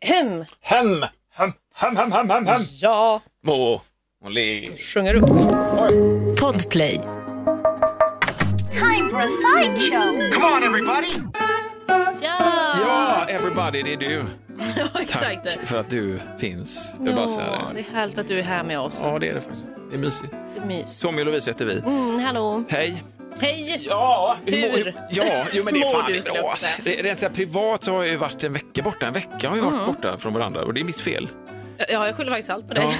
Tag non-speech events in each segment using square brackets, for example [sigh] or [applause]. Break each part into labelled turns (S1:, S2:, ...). S1: Hem!
S2: Hem! Hem, hem, hem, hem, hem, hem!
S1: Ja,
S2: Må hon ligga.
S1: sjunger upp.
S3: Podplay.
S4: Time for a sideshow.
S1: [laughs]
S2: Ja, everybody, det är du.
S1: Ja, exakt.
S2: Tack för att du finns. Jag vill bara säga
S1: Ja, det
S2: det.
S1: är härligt att du är här med oss.
S2: Ja, det är det faktiskt. Det är mysigt.
S1: Det är mys.
S2: Tommy och Lovisa heter vi.
S1: Mm, hallå.
S2: Hej!
S1: Hej!
S2: Ja,
S1: Hur?
S2: mår- Ja, jo, men det
S1: Mår
S2: är
S1: du,
S2: fan bra.
S1: skulle jag
S2: alltså.
S1: säga.
S2: Det- Rent så här, privat så har jag ju varit en vecka borta. En vecka har vi
S1: Mm.
S2: varit borta från varandra och det är mitt fel.
S1: Ja, jag skyller faktiskt allt på dig.
S2: Ja,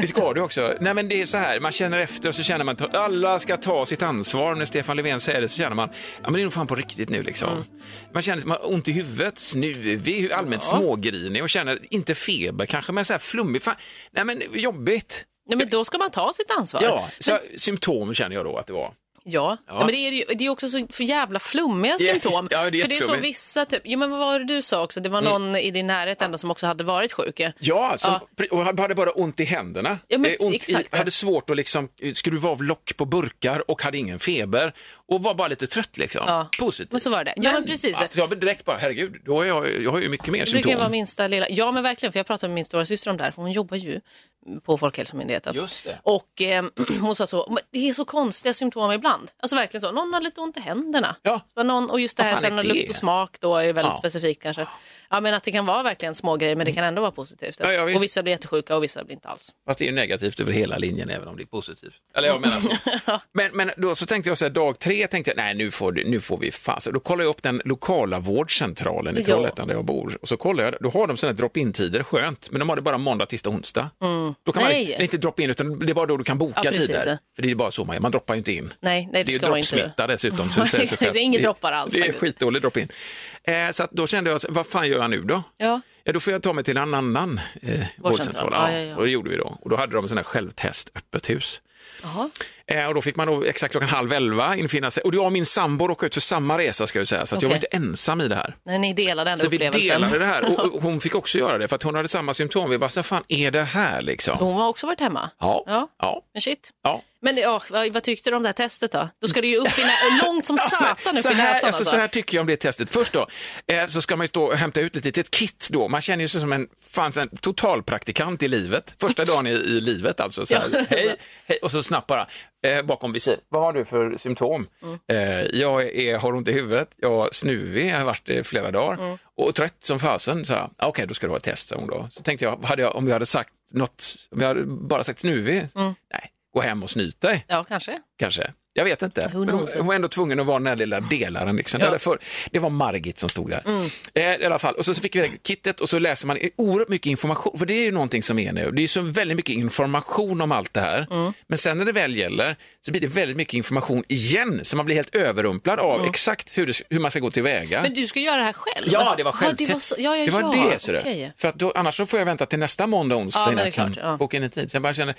S2: det ska du också. Nej, men det är så här, man känner efter och så känner man att alla ska ta sitt ansvar. När Stefan Löfven säger det så känner man, ja men det är nog fan på riktigt nu liksom. Man känner sig- man har ont i huvudet, snuvig, allmänt smågrinig och känner, inte feber kanske, men så här flummig. Fan, nej men jobbigt.
S1: Nej, men då ska man ta sitt ansvar.
S2: Ja, så, symptom känner jag då att det var.
S1: Ja, ja. men det är ju det är också så för jävla flummiga
S2: Ja,
S1: symptom.
S2: visst. Ja, det
S1: för det
S2: är
S1: är så
S2: jätteflummigt.
S1: vissa, typ, jo men vad var det du sa också, det var någon i din närhet ändå som också hade varit sjuk ju.
S2: Ja, som, och hade bara ont i händerna.
S1: Ja, men
S2: Eh, ont
S1: exakt.
S2: I, hade svårt att liksom eh, skruva av lock på burkar och hade ingen feber och var bara lite trött liksom.
S1: Ja,
S2: Positivt.
S1: men så var det. Ja, men precis.
S2: ja, Jag blev direkt bara, herregud, då har jag, jag har ju mycket mer
S1: Det brukar ju
S2: symptom.
S1: vara minsta lilla, ja men verkligen, för jag pratade med min stora syster om det här, för hon jobbar ju på Folkhälsomyndigheten.
S2: Just det.
S1: Och eh, [clears throat] hon sa så, "Men det är så konstiga symptom ibland. Alltså verkligen så, någon har lite ont i händerna.
S2: Ja.
S1: Så Någon, och just det
S2: Vad
S1: här
S2: fan är
S1: sen med
S2: det?
S1: lukt och smak då är väldigt
S2: Ja.
S1: specifikt kanske. Ja men att det kan vara verkligen små grejer men det kan ändå vara positivt.
S2: Ja, ja, visst.
S1: och vissa blir jättesjuka och vissa blir inte alls.
S2: Fast det är ju negativt över hela linjen även om det är positivt. Eller jag
S1: [laughs]
S2: menar så. men, men då så tänkte jag så här, dag tre tänkte jag, nej nu får, du- nu får vi fan. Så då kollar jag upp den lokala vårdcentralen i
S1: Ja.
S2: Trollhättan där jag bor. Och så kollar jag, då har de sådana här drop-in tider, skönt. Men de har det bara måndag, tisdag, onsdag. Då kan man,
S1: Mm. Nej.
S2: det är inte drop-in utan det är bara då du kan boka
S1: Ja, precis,
S2: tider.
S1: ja.
S2: För det är bara så man gör, man droppar ju inte in.
S1: Nej, nej,
S2: det
S1: det
S2: är ju
S1: ska inte du.
S2: droppsmitta
S1: [laughs]
S2: dessutom. Så det, säger sig
S1: Exakt,
S2: självt.
S1: det är inget droppar alls
S2: Det är
S1: faktiskt.
S2: skitdålig drop-in. Eh, så att då kände jag, så här, vad fan gör jag nu då?
S1: Ja.
S2: Ja, då får jag ta mig till en annan eh, vårdcentral.
S1: Ja, ja, ja.
S2: Och det gjorde vi då. Och då hade de sån här självtest, öppet hus.
S1: Jaha.
S2: Eh, och då fick man då exakt klockan halv elva infinna sig. Och jag och min sambo råkade ut för samma resa ska jag säga, så att jag var
S1: Okej.
S2: inte ensam i det här.
S1: Nej, ni delade den
S2: Så vi
S1: upplevelsen.
S2: delade det här
S1: [laughs]
S2: och, och hon fick också göra det för att hon hade samma symptom. Vi bara, så fan är det här liksom?
S1: Hon har också varit hemma.
S2: Ja, ja,
S1: Ja.
S2: ja.
S1: Men shit. Men ja, vad, vad tyckte du om det här testet då? Då ska du ju upp i
S2: [laughs]
S1: nä- långt som satan upp
S2: Så
S1: i
S2: här,
S1: näsan
S2: alltså,
S1: alltså.
S2: så här tycker jag om det testet. Först då, eh, så ska man ju stå och hämta ut ett litet kit då. Man känner ju sig som en, fanns en totalpraktikant i livet. Första dagen i, i livet alltså. Så här, hej, hej, och så snabbt bara, eh, bakom visir. Vad har du för symptom?
S1: Mm.
S2: Eh, jag är, har ont i huvudet, jag är snuvig, jag har varit det i flera dagar
S1: Mm.
S2: och trött som fasen. Så här, "Ah, Okej, då ska du ha ett test, sa hon då. Så tänkte jag, hade jag om jag hade sagt något, om jag hade bara sagt snuvig,
S1: Mm.
S2: nej, gå hem och snyt dig
S1: Ja, kanske.
S2: kanske. Jag vet inte.
S1: Who
S2: Men hon,
S1: knows?
S2: hon var ändå tvungen att vara den där lilla delaren. Liksom.
S1: Ja. Mm.
S2: Eller För, det var Margit som stod där. Eh, I alla fall. Och så fick vi det här kittet och så läser man oerhört mycket information. För det är ju någonting som är nu. Det är så väldigt mycket information om allt det här.
S1: Mm.
S2: Men sen när det väl gäller så blir det väldigt mycket information igen. Så man blir helt överrumplad av exakt hur, det, hur man ska gå tillväga.
S1: Mm. Men du ska göra det här själv?
S2: Ja, det var
S1: Ja, det var,
S2: självtest.
S1: så, ja, ja,
S2: det, var
S1: ja.
S2: det, ser du.
S1: Okej.
S2: För att då, annars så får jag vänta till nästa måndag, onsdag
S1: Ja, men
S2: innan
S1: det är
S2: jag kan
S1: klart, ja.
S2: boka in en tid. Så jag bara känner,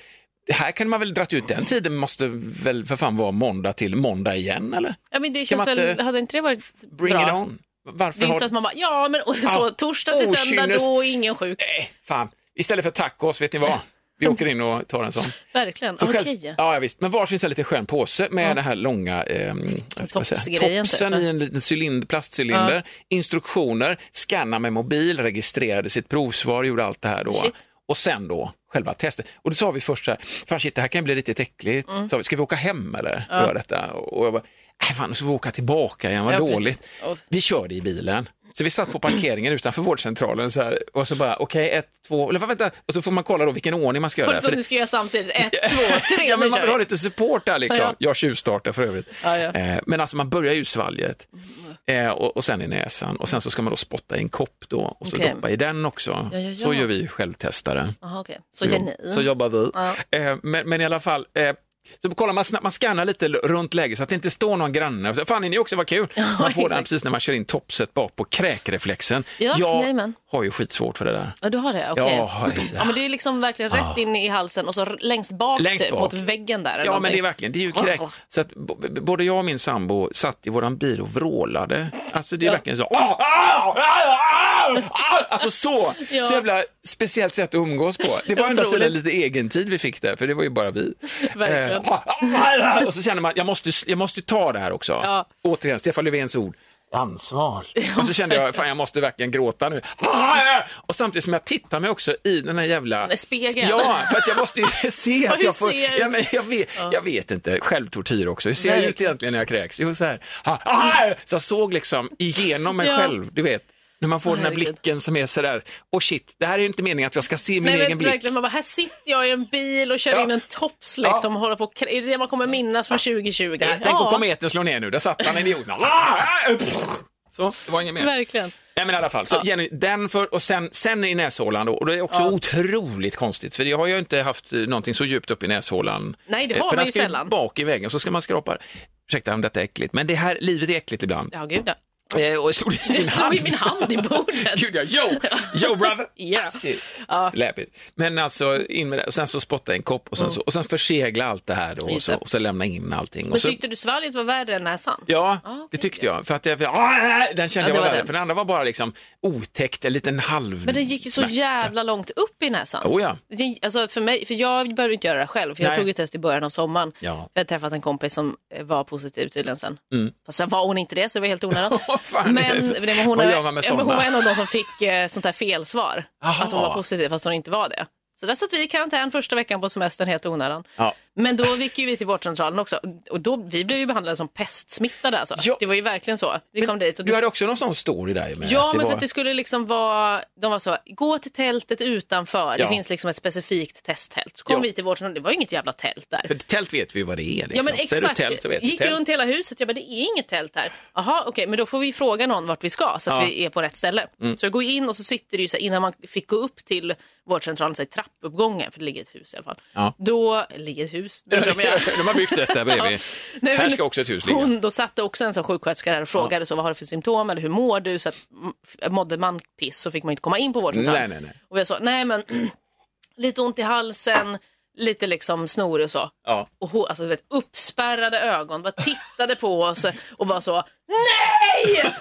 S2: det här kunde man väl dratt ut, den tiden måste väl för fan vara måndag till måndag igen eller?
S1: Ja, men det känns
S2: man
S1: väl,
S2: inte
S1: hade inte det varit
S2: Bring
S1: bra?
S2: it on. Varför
S1: Det är
S2: har...
S1: inte så att man bara, ja men och, så,
S2: Ja. Oh,
S1: torsdag till söndag,
S2: Okynnes-
S1: då är ingen sjuk.
S2: Nej, Eh, fan. Istället för tacos, vet ni vad?
S1: [laughs]
S2: Vi åker in och tar en sån.
S1: Verkligen,
S2: Så
S1: okej.
S2: själv- ja, ja, visst. Men varsin sån här lite skön påse med den här långa eh, vad ska man säga,
S1: Topsgrejen, typ.
S2: topsen i en liten cylind, plastcylinder, instruktioner, skanna med mobil, registrerade sitt provsvar, gjorde allt det här då.
S1: Shit.
S2: Och sen då själva testet. Och då sa vi först så här, fan shit, det här kan ju bli riktigt äckligt.
S1: Mm.
S2: Sa vi, ska vi åka hem eller? och Göra detta? Och jag bara, nej fan, och så får vi åka tillbaka igen, vad
S1: Ja, precis.
S2: dåligt.
S1: Och-
S2: Vi körde i bilen. Så vi satt på parkeringen utanför vårdcentralen så här, och så bara, okej, ett, två, eller vänta, och så får man kolla då vilken ordning man ska
S1: Var
S2: göra.
S1: det
S2: för
S1: som
S2: det-
S1: ni ska göra samtidigt? Ett, två, tre,
S2: ja, men
S1: nu
S2: man
S1: kör
S2: vill ha
S1: vi.
S2: lite support där liksom.
S1: Ja,
S2: Jag tjuvstartar för övrigt.
S1: Ja, ja.
S2: Eh, Men alltså man börjar ju i svalget eh, och, och sen i näsan och sen så ska man då spotta i en kopp då och så
S1: Okej.
S2: doppa i den också.
S1: Ja, ja, ja.
S2: Så gör vi självtestare.
S1: Aha, okej. Så gör ni.
S2: Så jobbar vi.
S1: Ja.
S2: Eh, Men, men i alla fall, eh, så kollar man snabbt, man skannar lite l- runt läget så att det inte står någon granne. Och så, Fan, är ni också, vad kul! Så man får den
S1: exakt.
S2: precis när man kör in topset bak på kräkreflexen.
S1: Ja,
S2: jag
S1: jajamän.
S2: har ju skitsvårt för det där.
S1: Ja, du har det? Okej.
S2: Ja, ja.
S1: Ja, men det är liksom verkligen rätt in i halsen och så r- längst bak,
S2: Ah. Längst
S1: typ, mot
S2: bak.
S1: väggen där. eller
S2: Ja, men
S1: någonting.
S2: det är verkligen, det är ju kräkt. Så att b- b- både jag och min sambo satt i våran bil och vrålade. Alltså det är verkligen så. "Åh, ah, au, au, au, au!" Alltså så,
S1: [laughs] Ja.
S2: så jävla speciellt sätt att umgås på. Det var enda sidan lite egen tid vi fick där, för det var ju bara vi.
S1: [laughs]
S2: ah,
S1: Verkligen.
S2: Eh, "Åh, au, au, au!" och så känner man, jag måste, jag måste ta det här också.
S1: Ja.
S2: Återigen, Stefan Löfvens ord.
S1: [laughs]
S2: ansvar. Och så kände jag, fan jag måste verkligen gråta nu. Ah! Och samtidigt som jag tittar mig också i den här jävla...
S1: Den spegeln.
S2: Ja, för att jag måste ju [laughs] se att
S1: hur
S2: jag får...
S1: ser-
S2: Ja, men jag, vet, jag vet inte, självtortyr också. Hur ser jag ut
S1: Verkligen.
S2: egentligen när jag kräks? Jo, så här. Ah! Ah! Så jag såg liksom igenom mig
S1: Ja.
S2: själv, du vet. När man får den här
S1: herregud.
S2: blicken som är sådär, åh shit, det här är ju inte meningen att jag ska se min
S1: Nej, men
S2: egen blick.
S1: verkligen, man bara, här sitter jag i en bil och kör
S2: Ja.
S1: in en tops liksom, och håller på och krä- är det det man kommer minnas från 2020?
S2: Ja, tänk om kometen slår ner nu, där satt han idioten. Ah! Så, det var inget mer.
S1: verkligen.
S2: Nej men i alla fall, så Jenny, den för, och sen, sen i näshålan då, och det är också otroligt konstigt för jag har ju inte haft eh, någonting så djupt upp i näshålan.
S1: Nej, det
S2: Eh,
S1: har
S2: för
S1: man
S2: den
S1: ju
S2: ska
S1: sällan.
S2: bak i väggen så ska man skrapa, ursäkta om detta är äckligt, men det här, livet är äckligt ibland.
S1: Ja, gud ja.
S2: Eh, och jag slog i
S1: Du
S2: din
S1: slog i min hand i bordet.
S2: [laughs] Gud ja, yo,
S1: [laughs]
S2: yo brother!
S1: Ja.
S2: Shit, Släp it. Men alltså, in med det, och sen så spotta i en kopp och sen, så, och sen försegla allt det här då, och
S1: Mm. Just
S2: så,
S1: det.
S2: och så lämna in allting.
S1: Men
S2: och så,
S1: tyckte du svalget var värre än näsan?
S2: Ja,
S1: okej.
S2: det tyckte jag. För att jag, ah,
S1: Ja,
S2: den kände
S1: det
S2: jag var
S1: var
S2: värre.
S1: den.
S2: För den andra var bara liksom otäckt, en liten halv...
S1: Men den gick ju så jävla långt upp i näsan.
S2: Oh ja. [laughs]
S1: Det- Alltså för, mig, för jag behövde inte göra det själv, för jag
S2: Nej.
S1: tog ett test i början av sommaren.
S2: Ja. Mm.
S1: För jag hade träffat en kompis som eh, var positiv tydligen sen. Fast sen var hon inte det, så det var helt onödigt.
S2: [laughs] Vad fan
S1: Men,
S2: är det
S1: men
S2: för-
S1: det var hon,
S2: Vad gör man med
S1: ja, men hon var
S2: sådana?
S1: en av de som fick eh, sånt här felsvar.
S2: Jaha.
S1: Att hon var positiv fast hon inte var det. Så där satt vi i karantän första veckan på semestern helt onödan.
S2: Ja.
S1: Men då gick ju vi till vårdcentralen också och då, vi blev ju behandlade som pestsmittade alltså.
S2: Ja.
S1: Det var ju verkligen så. Vi kom dit och
S2: Du hade också någon sån story där ju med
S1: Ja,
S2: att
S1: men
S2: var...
S1: för att det skulle liksom vara, de var så, gå till tältet utanför,
S2: Ja.
S1: det finns liksom ett specifikt testtält. Så kom
S2: Ja.
S1: vi till vårdcentralen, det var ju inget jävla tält där.
S2: För tält vet vi ju vad det är. Liksom.
S1: Ja men
S2: Säger du
S1: exakt,
S2: tält så vet du
S1: gick
S2: tält. [laughs]
S1: runt hela huset, jag bara det är inget tält här. Jaha okej, men då får vi fråga någon vart vi ska så att
S2: Ja. Mm.
S1: vi är på rätt ställe. Så jag går in och så sitter det ju så här, innan man fick gå upp till vårdcentralen, så här, trappuppgången, för det ligger ett hus i alla fall.
S2: Ja.
S1: Då, ligger ett hus, det
S2: [laughs]
S1: de göra.
S2: De har byggt ett där bredvid.
S1: Nej,
S2: Här
S1: men
S2: ska också ett hus ligga.
S1: Hon, då satt det också en sån sjuksköterska där och frågade så, vad har du för symptom eller hur mår du? Så att, m- f- mådde man piss så fick man inte komma in på vårdcentralen.
S2: Nej, nej, nej.
S1: Och jag sa, nej men [clears throat] lite ont i halsen, lite liksom snorig och så.
S2: Ja.
S1: Och hon, alltså, du vet, uppspärrade ögon, bara tittade på oss och var så
S2: [laughs]
S1: NEJ!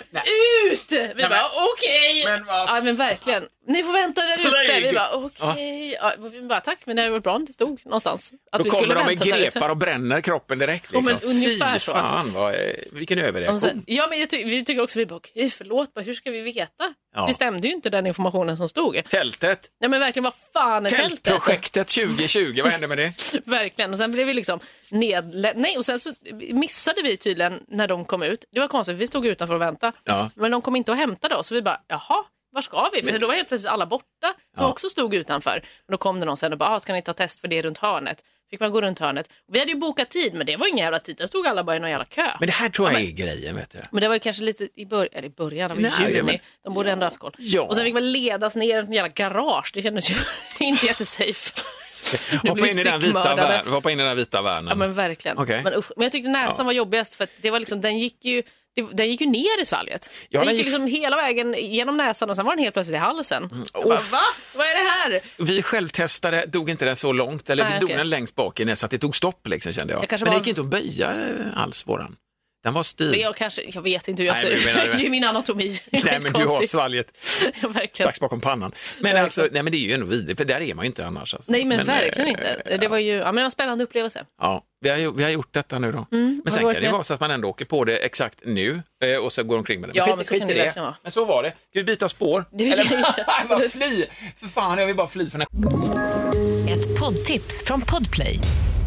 S1: Ut! Vi bara okej!
S2: men vad
S1: Ja men verkligen. Ni får vänta där ute.
S2: Plague.
S1: Vi bara okej. Ja, vi bara tack men det hade varit bra om det stod någonstans. Att
S2: Då
S1: vi
S2: kommer
S1: skulle
S2: de med
S1: vänta där ute.
S2: grepar och bränner kroppen direkt.
S1: Ja,
S2: Liksom.
S1: men ungefär
S2: Fy
S1: så.
S2: fan, vad, eh, vilken Oh,
S1: Och
S2: överreaktion.
S1: sen, ja, men jag ty- vi tycker också, vi bara, "Okej, förlåt, bara, hur ska vi veta?
S2: Ja.
S1: Det stämde ju inte den informationen som stod.
S2: Tältet,
S1: Nej men verkligen, vad fan är tältet? [laughs]
S2: tältprojektet 2020, vad hände med det?
S1: verkligen. Och sen blev vi liksom nedlä- Nej, och sen så missade vi tydligen när de kom ut. Det var konstigt, vi stod utanför och väntade.
S2: Ja.
S1: Men de kom inte och hämtade oss, så vi bara, jaha, var ska vi? För då var helt plötsligt alla borta som också stod utanför. Men då kom det någon sen och bara, "Ah, ska ni ta test för det är runt hörnet? Fick man gå runt hörnet. Vi hade ju bokat tid, men det var ingen jävla tid. Där stod alla bara i någon jävla kö.
S2: Men det här tror jag är grejen, vet du.
S1: Men det var ju kanske lite i, bör- eller i början av
S2: Nej,
S1: juni.
S2: men-
S1: De borde ändå haft koll.
S2: Ja.
S1: Och sen fick man ledas ner i ett jävla garage. Det kändes ju [laughs] inte jättesafe. Nu
S2: Hoppa
S1: blir
S2: in, i den vita
S1: styckmördade.
S2: världen. Hoppa in i den vita världen.
S1: Ja men verkligen.
S2: Okej.
S1: Men, usch. men jag tyckte näsan var jobbigast för att det var liksom, den gick ju det- den gick ju ner i svalget.
S2: Ja,
S1: den
S2: den
S1: gick, ju
S2: gick- Mm.
S1: liksom hela vägen genom näsan och sen var den helt plötsligt i halsen. Jag bara,
S2: Uff.
S1: va? Vad är det här?
S2: Vi självtestade, dog inte den så långt, eller
S1: Nej,
S2: vi dog
S1: okej.
S2: den längst bak i näsan, så att det tog stopp liksom kände jag.
S1: Jag kanske
S2: Men det
S1: var-
S2: gick inte att böja eh, alls våran. Den var styr.
S1: Men Jag, kanske, jag vet inte hur jag
S2: Nej,
S1: ser
S2: men
S1: ut. [laughs]
S2: menar du-
S1: Det är ju min anatomi.
S2: Nej men du har svalget
S1: har [laughs] verkligen.
S2: strax bakom pannan. Men alltså, nej men det är ju ändå vidrigt, för där är man ju inte annars. Alltså.
S1: Nej men, verkligen
S2: eh,
S1: inte. Det var ju ja, men det var en spännande upplevelse.
S2: Ja, vi har, ju- vi har gjort detta
S1: Mm,
S2: nu då. men
S1: har
S2: sen
S1: du varit
S2: kan det
S1: med?
S2: vara så att man ändå åker på det exakt nu eh, och så går omkring med det.
S1: Ja,
S2: skit-
S1: men så
S2: skit
S1: kan
S2: i
S1: det verkligen vara.
S2: Men så var det. Ska vi byta spår?
S1: Det-
S2: [laughs] alltså fly! För fan, jag vill bara fly från den här
S3: Ett poddtips från Podplay.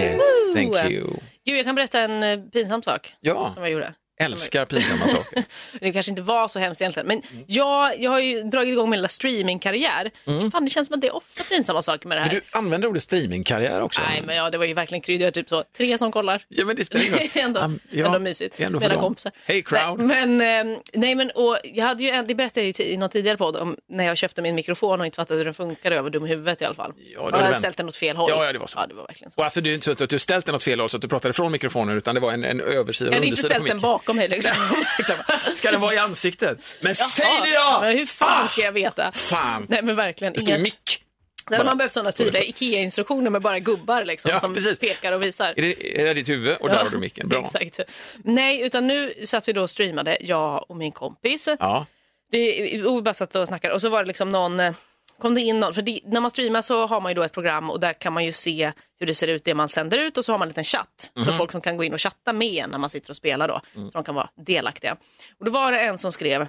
S2: Yes, thank you.
S1: Gud, jag kan berätta en eh, pinsam sak
S2: Ja.
S1: som jag gjorde.
S2: Älskar pinsamma saker.
S1: [laughs] Det kanske inte var så hemskt egentligen. Men jag, jag har ju dragit igång min lilla streamingkarriär. Fan, det känns som att det är ofta pinsamma saker med det här.
S2: Men Mm. du använder ordet streamingkarriär också.
S1: Nej, men ja, det var ju verkligen krydd. Jag har typ så tre som kollar.
S2: Ja, men det spelar ingen roll.
S1: [laughs] Det är ändå,
S2: Am- ja,
S1: ändå mysigt.
S2: det är ändå för
S1: Mina
S2: dem.
S1: kompisar.
S2: Hey, crowd.
S1: Nej, men, eh, nej, men och jag hade ju en, det berättade jag ju ti- i någon tidigare podd om när jag köpte min mikrofon och inte fattade hur den funkade. Jag var dum i huvudet i alla fall.
S2: då är
S1: och
S2: det
S1: jag hade
S2: vänt.
S1: ställt den åt fel håll.
S2: Ja, ja, det var så.
S1: Ja, det var verkligen så.
S2: Och alltså, det är inte så att du ställt den åt fel håll så att du pratade från mikrofonen utan det var en, en översida
S1: Jag
S2: och
S1: hade inte
S2: undersida på
S1: ställt den
S2: micken.
S1: bakom mig liksom.
S2: [laughs] Exakt. Ska den vara i ansiktet? Men säg
S1: Ja,
S2: det då! Ah!
S1: Men hur fan ska jag veta?
S2: Fan!
S1: Nej men verkligen.
S2: Det står
S1: inga-
S2: mick.
S1: Där hade man behövt sådana tydliga IKEA-instruktioner med bara gubbar liksom,
S2: Ja,
S1: som
S2: precis.
S1: pekar och visar.
S2: Är det, är det ditt huvud? Och där har du micken. Bra.
S1: [laughs] Exakt. Nej, utan nu satt vi då och streamade, jag och min kompis.
S2: Ja.
S1: Det, och vi bara satt och snackade och så var det liksom någon, eh, kom det in någon, för det, när man streamar så har man ju då ett program och där kan man ju se hur det ser ut det man sänder ut och så har man en liten chatt. Så folk som kan gå in och chatta med en när man sitter och spelar då, så de kan vara delaktiga. Och då var det en som skrev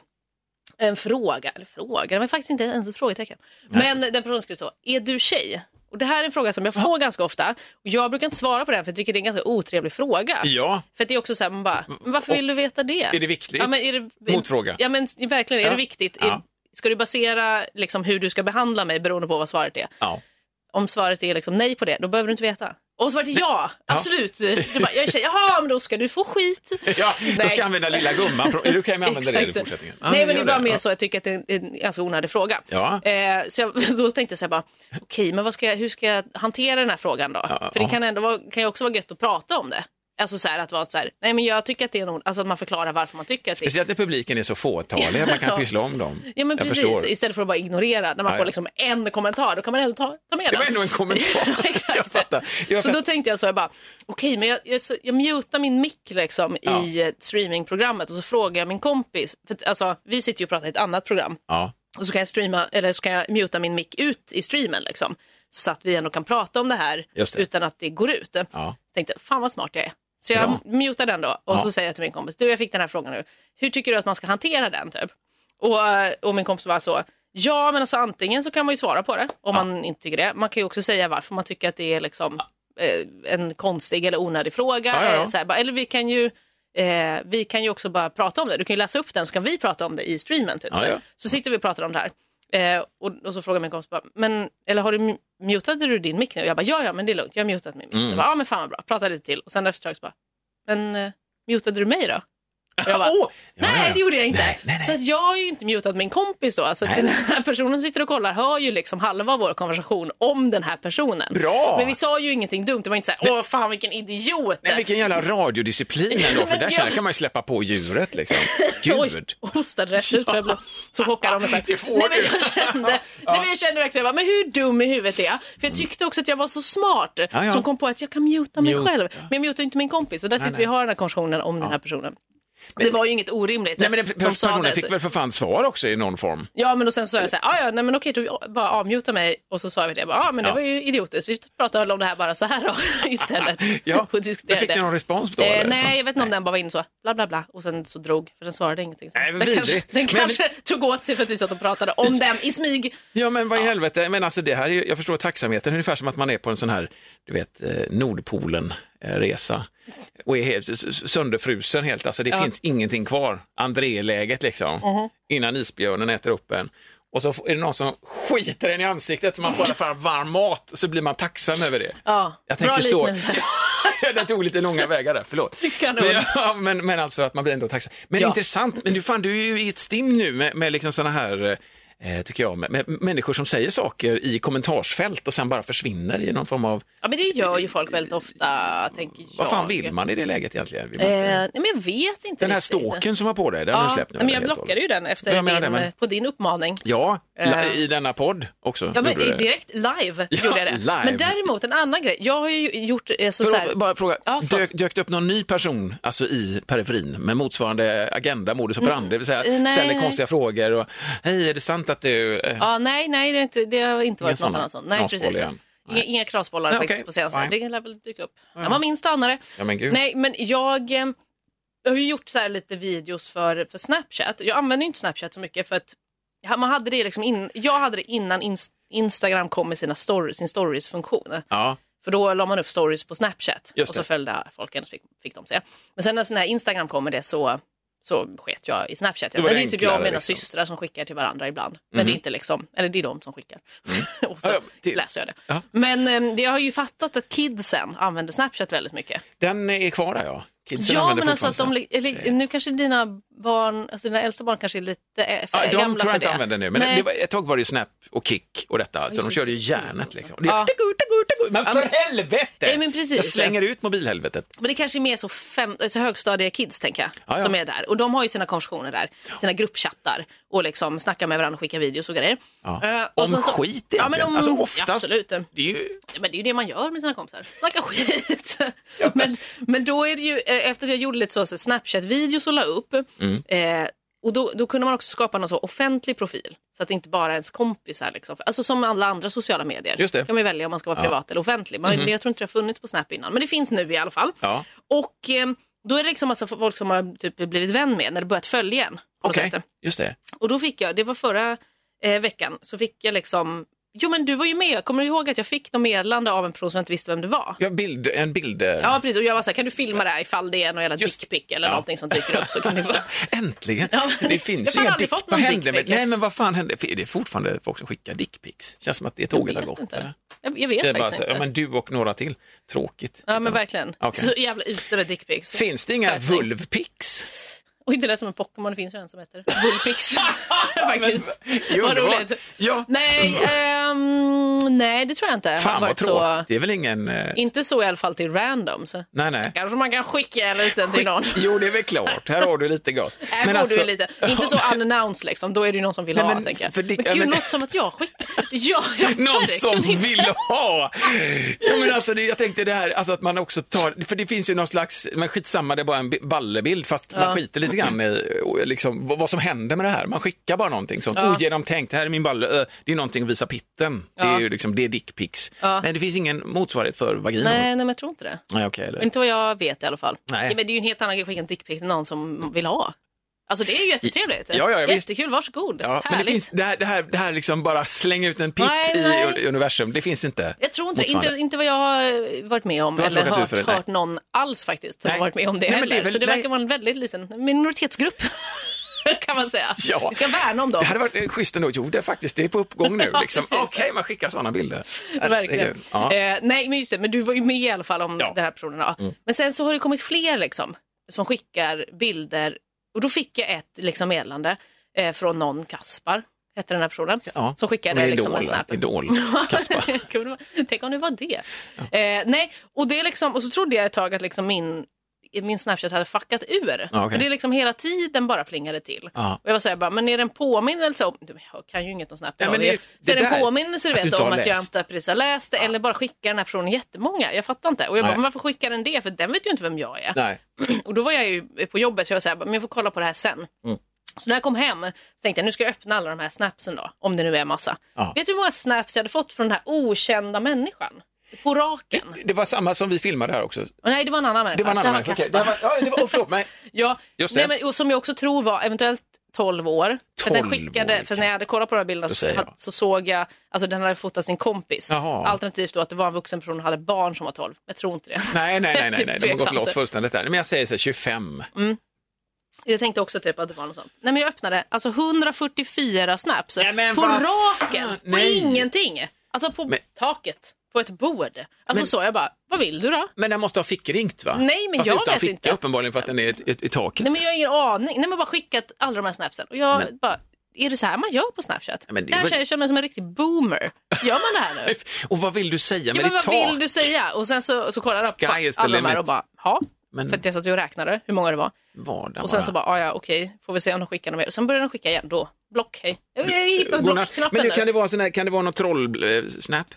S1: en fråga, eller fråga, det var faktiskt inte ens ett frågetecken. Men den personen skrev så, är du tjej? Och det här är en fråga som jag får ganska ofta och jag brukar inte svara på den för jag tycker det är en ganska otrevlig fråga.
S2: ja.
S1: För att det är också så här, man bara, men varför vill du veta det?
S2: Är det viktigt?
S1: Ja, men är det,
S2: Motfråga.
S1: Ja, men verkligen, är
S2: Ja.
S1: det viktigt?
S2: Ja.
S1: Är, ska du basera liksom, hur du ska behandla mig beroende på vad svaret är?
S2: ja.
S1: Om svaret är liksom, nej på det, då behöver du inte veta. Och om svaret är ja, absolut. Du bara, jag är tjej, jaha, men då ska du få skit.
S2: Ja, då
S1: Nej.
S2: ska jag använda lilla gumman. Är du okej med att använda det i
S1: Exakt.
S2: fortsättningen? Ja,
S1: Nej men det
S2: gör
S1: är bara
S2: Ja.
S1: mer så jag tycker att det är en, en ganska onödig fråga.
S2: Ja.
S1: Eh, så jag, [laughs] då tänkte jag så här bara, okej men vad ska jag, hur ska jag hantera den här frågan då?
S2: Ja,
S1: För det
S2: ja.
S1: kan, ändå vara, kan ju också vara gött att prata om det. Alltså så här att vara så här, nej men jag tycker att det är en, alltså att man förklarar varför man tycker att det är
S2: Speciellt när publiken är så fåtalig att man kan
S1: Ja.
S2: pyssla om dem.
S1: Ja men
S2: jag
S1: precis,
S2: förstår.
S1: istället för att bara ignorera. När man
S2: Ja, ja.
S1: får liksom en kommentar, då kan man ändå ta, ta med
S2: Det var
S1: den.
S2: ändå en kommentar.
S1: [laughs] Ja, exakt.
S2: Jag fattar. Jag
S1: så
S2: fattar.
S1: då tänkte jag så, jag bara, okej, men jag, jag, så- jag mutar min mick liksom
S2: Ja.
S1: i eh, streamingprogrammet och så frågar jag min kompis, för att, alltså, vi sitter ju och pratar i ett annat program,
S2: Ja.
S1: och så kan jag, streama, eller så kan jag muta min mick ut i streamen liksom, så att vi ändå kan prata om det här
S2: Just det.
S1: utan att det går ut.
S2: Ja.
S1: Så tänkte jag, fan vad smart jag är. Så jag
S2: Bra.
S1: mutar den då och
S2: Ja.
S1: så säger jag till min kompis, du jag fick den här frågan nu, hur tycker du att man ska hantera den typ? Och, och min kompis var så, ja men alltså antingen så kan man ju svara på det om man inte tycker det, man kan ju också säga varför man tycker att det är liksom eh, en konstig eller onödig fråga.
S2: Ja, ja, ja.
S1: eh, Så här, bara, eller vi kan ju Eh, vi kan ju också bara prata om det. Du kan ju läsa upp den så kan vi prata om det i streamen. Typ,
S2: Ja,
S1: så, här.
S2: ja.
S1: så sitter vi och pratar om det här. Eh, och, och så frågar min kompis, bara, men, eller har du mu- mutade du din mick nu? Jag bara, ja, ja, men det är lugnt. Jag har mutat min mick.
S2: Mm.
S1: Så jag bara, ja, men fan vad bra. Prata lite till. Och sen efter ett tag så bara, men eh, mutade du mig då? Och jag bara,
S2: [laughs] Åh! Ja, ja,
S1: Nej,
S2: ja.
S1: det gjorde jag inte.
S2: Nej, nej, nej.
S1: Så att jag har ju inte mutat min kompis då. Så att den här personen sitter och kollar, hör ju liksom halva vår konversation om den här personen.
S2: Bra!
S1: Men vi sa ju ingenting dumt. Det var inte så här, åh fan vilken idiot.
S2: Nej, vilken jävla radiodisciplin ändå,
S1: [laughs]
S2: för
S1: Men
S2: där
S1: jag-
S2: känner jag kan man ju släppa på djuret liksom. Gud!
S1: [laughs] Oj, hostade rätt ut för jag blev så chockad av mig själv.
S2: Det får
S1: Nej men
S2: du.
S1: jag
S2: [laughs]
S1: kände, nej, men jag kände verkligen, jag bara, men hur dum i huvudet är jag? För jag tyckte också att jag var så smart
S2: Mm. ja.
S1: som kom på att jag kan muta mig
S2: Mute,
S1: själv. Men jag mutar inte min kompis och där sitter vi och har den här konversationen om den här personen. det var ju inget orimligt.
S2: Nej, men den
S1: som
S2: per-
S1: sa
S2: personen
S1: det.
S2: fick väl för fan svar också i
S1: [laughs]
S2: någon form.
S1: Ja, men och sen sa jag så här, "Ah, ja, nej men okej, du bara avmuta mig och så sa vi det. Jag bara, Ja, men det
S2: Ja.
S1: var ju idiotiskt. Vi pratar väl om det här bara så här då [laughs] istället.
S2: Ja.
S1: [laughs] Och
S2: Men
S1: diskuterade
S2: fick ni
S1: det.
S2: någon respons då?
S1: Eh,
S2: eller? liksom.
S1: nej, jag vet inte om den bara var inne så, bla bla bla, och sen så drog, för den svarade ingenting. Så
S2: Nej, men
S1: den
S2: vidrigt.
S1: kanske, den
S2: Men-
S1: kanske tog åt sig för att vi satt och pratade om den i smyg.
S2: Ja, men vad i helvete. Men alltså det här är ju, jag förstår tacksamheten, ungefär som att man är på en sån här, du vet, eh, Nordpolen-resa och är helt, s- s- sönderfrusen helt, alltså det finns ingenting kvar. André-läget liksom,
S1: Mhm.
S2: innan isbjörnen äter upp en. Och så är det någon som skiter en i ansiktet så man får i alla fall varm mat och så blir man tacksam över det.
S1: Ja,
S2: jag
S1: bra
S2: tänker så.
S1: liknelse.
S2: [laughs] Den tog lite långa vägar där, förlåt.
S1: Lycka
S2: men,
S1: då.
S2: ja, men, men alltså att man blir ändå tacksam. Men
S1: Ja.
S2: intressant, men du, fan, du är ju i ett stim nu med, med liksom sådana här, eh, tycker jag, med, med människor som säger saker i kommentarsfält och sen bara försvinner i någon form av,
S1: Ja, men det gör ju folk väldigt ofta, tänker jag.
S2: vad fan vill man i det läget egentligen? Vill
S1: Eh,
S2: man inte-
S1: nej, men jag vet inte
S2: den här
S1: riktigt.
S2: stalken som var på dig, den har du
S1: Ja,
S2: släppt nu.
S1: men
S2: eller?
S1: jag
S2: Helt och
S1: blockade ju
S2: hållet.
S1: den efter
S2: Jag menar det,
S1: din,
S2: men-
S1: eh, på din uppmaning.
S2: Ja, la-
S1: Eh.
S2: i denna podd också.
S1: Ja, men
S2: gjorde du det.
S1: direkt live
S2: [laughs] Ja,
S1: gjorde jag det.
S2: live.
S1: Men däremot en annan grej. Jag har ju gjort eh, så, så
S2: För
S1: här,
S2: att, bara fråga,
S1: Ja, förlåt.
S2: dök, dök det upp någon ny person alltså i periferin med motsvarande agenda, modus operandi, det vill säga
S1: eh, nej,
S2: ställer
S1: nej.
S2: konstiga frågor och hej, är det sant att du... eh,
S1: Ja, nej, nej, det, är inte, det har inte varit
S2: såna
S1: något annat sånt. Nej,
S2: knasboll
S1: precis.
S2: igen.
S1: Inga, inga krasbollar
S2: Nej,
S1: faktiskt
S2: okej,
S1: på senaste.
S2: fine.
S1: Det lär väl dyka upp. Den var min stannare.
S2: Ja, men gud.
S1: Nej, men jag, eh, jag har ju gjort så här lite videos för, för Snapchat. Jag använder ju inte Snapchat så mycket för att jag- man hade det liksom in, jag hade det innan Ins- Instagram kom med sina stories, sin stories-funktion.
S2: Ja,
S1: För då la man upp stories på Snapchat
S2: Just
S1: och så
S2: det.
S1: följde folk henne så fick, fick de se. Men sen när sån här Instagram kom med det så, så sket jag i Snapchat.
S2: Då
S1: Men
S2: var
S1: det
S2: det
S1: är ju typ jag och
S2: enklare,
S1: mina
S2: liksom. Mhm.
S1: systrar som skickar till varandra ibland. Men det är inte liksom, eller det är de som skickar. [laughs] och så
S2: Mm. Ja, ja, det-
S1: läser jag det.
S2: Ja.
S1: Men ehm, det- jag har ju fattat att kidsen använder Snapchat väldigt mycket.
S2: Den är kvar där ja. Kidsen
S1: Ja,
S2: använder
S1: men alltså att de,
S2: fortfarande
S1: li- eller, nu kanske dina barn, alltså dina äldsta barn kanske är lite eh, för
S2: Ja, de
S1: gamla
S2: tror jag
S1: för
S2: inte
S1: det.
S2: använder nu, men
S1: Nej.
S2: det var, ett tag var det ju Snap och Kick och detta, så de
S1: just
S2: körde ju
S1: det.
S2: järnet liksom.
S1: Ja.
S2: Tagu, tagu, tagu. Men för helvete!
S1: Nej, men precis.
S2: Jag slänger ut mobilhelvetet.
S1: Men det kanske är mer så, fem, alltså högstadiekids tänker jag,
S2: Ja, ja.
S1: som är där. Och de har ju sina konversationer där, sina gruppchattar och liksom snackar med varandra och skickar videos och grejer.
S2: Ja.
S1: Eh, och
S2: Om
S1: sen
S2: skit egentligen. Alltså, oftast-
S1: Ja, absolut. Men
S2: Det är ju...
S1: det är ju det man gör med sina kompisar, snacka
S2: [laughs]
S1: skit. men, men då är det ju, eh, efter att jag gjorde lite så, så Snapchat-videos och la upp,
S2: Mm.
S1: eh, och då, då kunde man också skapa någon så offentlig profil. Så att det inte bara är ens kompisar. Liksom. Alltså som alla andra sociala medier.
S2: Just det. Mm-hmm.
S1: kan man ju välja om man ska vara privat eller offentlig. Man, Jag tror inte det har funnits på Snap innan, men det finns nu i alla fall.
S2: Ja.
S1: Och eh, då är det liksom massa folk som har typ blivit vän med när det börjat följa en. på något
S2: Okej,
S1: sätt.
S2: just det.
S1: Och då fick jag, det var förra eh, veckan, så fick jag liksom Jo men du var ju med, kommer du ihåg att jag fick något meddelande av en person som jag inte visste vem det var?
S2: Ja, bild, en bild. eh,
S1: Ja precis, och jag var såhär, kan du filma det här ifall det är någon jävla
S2: Just-
S1: dickpic eller
S2: Ja.
S1: någonting som dyker upp så kan du bara...
S2: Äntligen!
S1: Ja, men- [laughs]
S2: det finns
S1: Jag
S2: ju
S1: har
S2: inga
S1: aldrig
S2: dick...
S1: fått
S2: Vad
S1: någon
S2: händer med...
S1: dickpic.
S2: Nej, men vad fan händer? Är det fortfarande folk som skickar dickpics? Känns som att det [laughs] tåget har
S1: vet
S2: gått.
S1: inte.
S2: eller?
S1: Jag, jag vet
S2: Det är bara
S1: faktiskt
S2: så,
S1: inte.
S2: ja, men du och några till. Tråkigt.
S1: Ja men verkligen.
S2: Okej.
S1: Så jävla ute med dickpics.
S2: Finns det inga
S1: Verkligen.
S2: vulvpics?
S1: Och inte det som en Pokémon, det finns ju en som heter
S2: [laughs]
S1: Bullpix. Faktiskt.
S2: det är
S1: Vad
S2: underbart.
S1: roligt.
S2: Ja.
S1: Nej, ehm, nej, det tror jag inte. har
S2: Fan vad
S1: varit
S2: tråkigt.
S1: så,
S2: Det är väl ingen... eh,
S1: Inte så i alla fall till random. Så.
S2: Nej, nej.
S1: Kanske man kan skicka en liten till någon.
S2: Jo, det är väl klart. Här har du lite gott.
S1: Här får du ju lite. Inte så unannounced liksom, då är det ju någon som vill
S2: alltså- Nej,
S1: ha.
S2: men
S1: tänker jag.
S2: för det-
S1: men
S2: ja,
S1: gud,
S2: men-
S1: låter som att jag
S2: [laughs]
S1: skickar. Ja, jag
S2: Någon
S1: verkligen
S2: som
S1: inte.
S2: vill ha! Ja, men alltså, det, jag tänkte det här, alltså att man också tar, för det finns ju någon slags, men skitsamma, det är bara en bi- ballebild, fast man skiter lite grann i och liksom, vad, vad som händer med det här. Man skickar bara någonting som ogenomtänkt, här är min balle, ö, det är någonting att visa pitten. Det är ju liksom, det är dickpics. Men det finns ingen motsvarighet för vaginor.
S1: Nej, nej, men jag tror inte det.
S2: Nej, okej. det-
S1: Inte vad jag vet i alla fall.
S2: Nej.
S1: Ja, men det är ju en helt annan grej att skicka en dickpic till någon som vill ha. Alltså det är ju jättetrevligt.
S2: Ja, ja, ja, visst.
S1: Jättekul, varsågod.
S2: Ja, men det,
S1: Härligt.
S2: finns, det, här, det, här, det här liksom bara slänga ut en pitt
S1: Nej,
S2: i
S1: nej.
S2: universum, det finns inte.
S1: Jag tror inte det.
S2: motsvarande.
S1: Inte, inte vad jag har eh, varit med om
S2: Du har
S1: eller
S2: inte råkat ut
S1: hört,
S2: för det, nej.
S1: hört någon alls faktiskt som
S2: Nej.
S1: har varit med om det
S2: Nej, men
S1: heller.
S2: det är väl-
S1: Så det
S2: nej.
S1: verkar vara en väldigt liten minoritetsgrupp [laughs] kan man säga.
S2: Ja.
S1: Vi ska värna om dem.
S2: Det hade varit eh, schysst ändå. Jo, det är faktiskt, det är på
S1: [laughs]
S2: uppgång nu.
S1: Ja,
S2: Liksom. Okej,
S1: precis.
S2: man skickar sådana bilder.
S1: Verkligen.
S2: Herregud. Ja.
S1: Eh, nej, men just det, men du var ju med i alla fall om
S2: Ja. Mm.
S1: den här personen. Ja. Men sen så har det kommit fler liksom, som skickar bilder och då fick jag ett liksom, meddelande eh, från någon Kaspar, hette den här personen,
S2: Ja.
S1: som skickade
S2: Med
S1: liksom, en
S2: Idol,
S1: snap.
S2: Idol, [laughs]
S1: [laughs]
S2: Kaspar.
S1: Kunde man- Tänk om det var det. Eh, nej, och, det är liksom, och så trodde jag ett tag att liksom min, min Snapchat hade fuckat ur.
S2: Ja, okej.
S1: För det är liksom hela tiden bara plingade till.
S2: Ja.
S1: Och jag var så här, bara, men är det en påminnelse? Om, Du, jag kan ju inget om Snapchat.
S2: Ja, men
S1: det,
S2: det- det
S1: är det
S2: där-
S1: en påminnelse du
S2: att du
S1: vet,
S2: inte har
S1: om att jag
S2: läst.
S1: inte precis har läst det? Eller bara skickar den här personen jättemånga? Jag fattar inte. Och jag bara,
S2: Nej.
S1: men varför skickar den det? För den vet ju inte vem jag är.
S2: Nej.
S1: Och då var jag ju på jobbet så jag var så här, men jag får kolla på det här sen.
S2: Mm.
S1: Så när jag kom hem så tänkte jag nu ska jag öppna alla de här snapsen då, om det nu är massa.
S2: Ja.
S1: Vet du hur många snaps jag hade fått från den här okända människan? På raken?
S2: Det var samma som vi filmade här också.
S1: Och nej, det var en annan människa.
S2: Det var en annan
S1: Kaspar.
S2: okej. det var, ja, det var, oh,
S1: [laughs]
S2: förlåt mig.
S1: Ja,
S2: Just
S1: nej,
S2: det.
S1: men, och som jag också tror var eventuellt 12 år. För, att den
S2: 12 år,
S1: skickade, för när jag hade kollat på de här bilderna
S2: Då
S1: så,
S2: säger jag.
S1: hade- så såg jag, alltså den hade fotat sin kompis.
S2: Jaha.
S1: Alternativt då att det var en vuxen person och hade barn som var 12. Jag tror inte det.
S2: Nej, nej, nej, nej,
S1: Typ
S2: nej. de har gått
S1: tveksamt. Mm.
S2: loss fullständigt där. Men jag säger så här, 25.
S1: Jag tänkte också typ att det var något sånt. Nej men jag öppnade alltså 144 snaps
S2: Nej, men
S1: på
S2: vad
S1: raken,
S2: fan,
S1: på
S2: nej.
S1: ingenting. Alltså på
S2: Men-
S1: taket, på ett bord. Alltså
S2: Men-
S1: så, jag bara, vad vill du då?
S2: Men den måste ha fickringt va?
S1: Nej, men
S2: Fast
S1: jag
S2: utan
S1: vet
S2: ficka,
S1: inte.
S2: uppenbarligen för att den är i, i, i taket.
S1: Nej men jag har ingen aning. Nej men bara skickat alla de här snapsen. Och jag bara, är det så här man gör på Snapchat?
S2: men det är
S1: Där
S2: väl-
S1: känner jag mig som en riktig boomer. Gör man det
S2: [laughs]
S1: här nu?
S2: Och vad vill du säga
S1: Ja, men
S2: med ditt
S1: vad
S2: tak?
S1: vill du säga? Och sen så, så kollade jag på
S2: Sky is the
S1: alla de här
S2: limit.
S1: och bara, ja.
S2: Men-
S1: För att jag satt ju och räknade hur många det var.
S2: Vardag
S1: Och sen
S2: bara.
S1: så bara, ah, ja okej, får vi se om de skickar något mer. Och sen började de skicka igen, då, block, hej. Jag, jag hittade
S2: Godnatt.
S1: blockknappen
S2: Men nu
S1: där.
S2: kan det vara, sån här, kan det vara någon eh, troll-snap?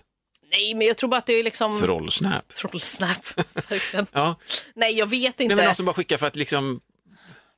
S1: Nej, men jag tror bara att det är liksom...
S2: Troll-snap.
S1: Trollsnap.
S2: [laughs]
S1: Verkligen.
S2: Ja.
S1: Nej, jag vet
S2: Nej,
S1: inte.
S2: men någon som bara skickar för att liksom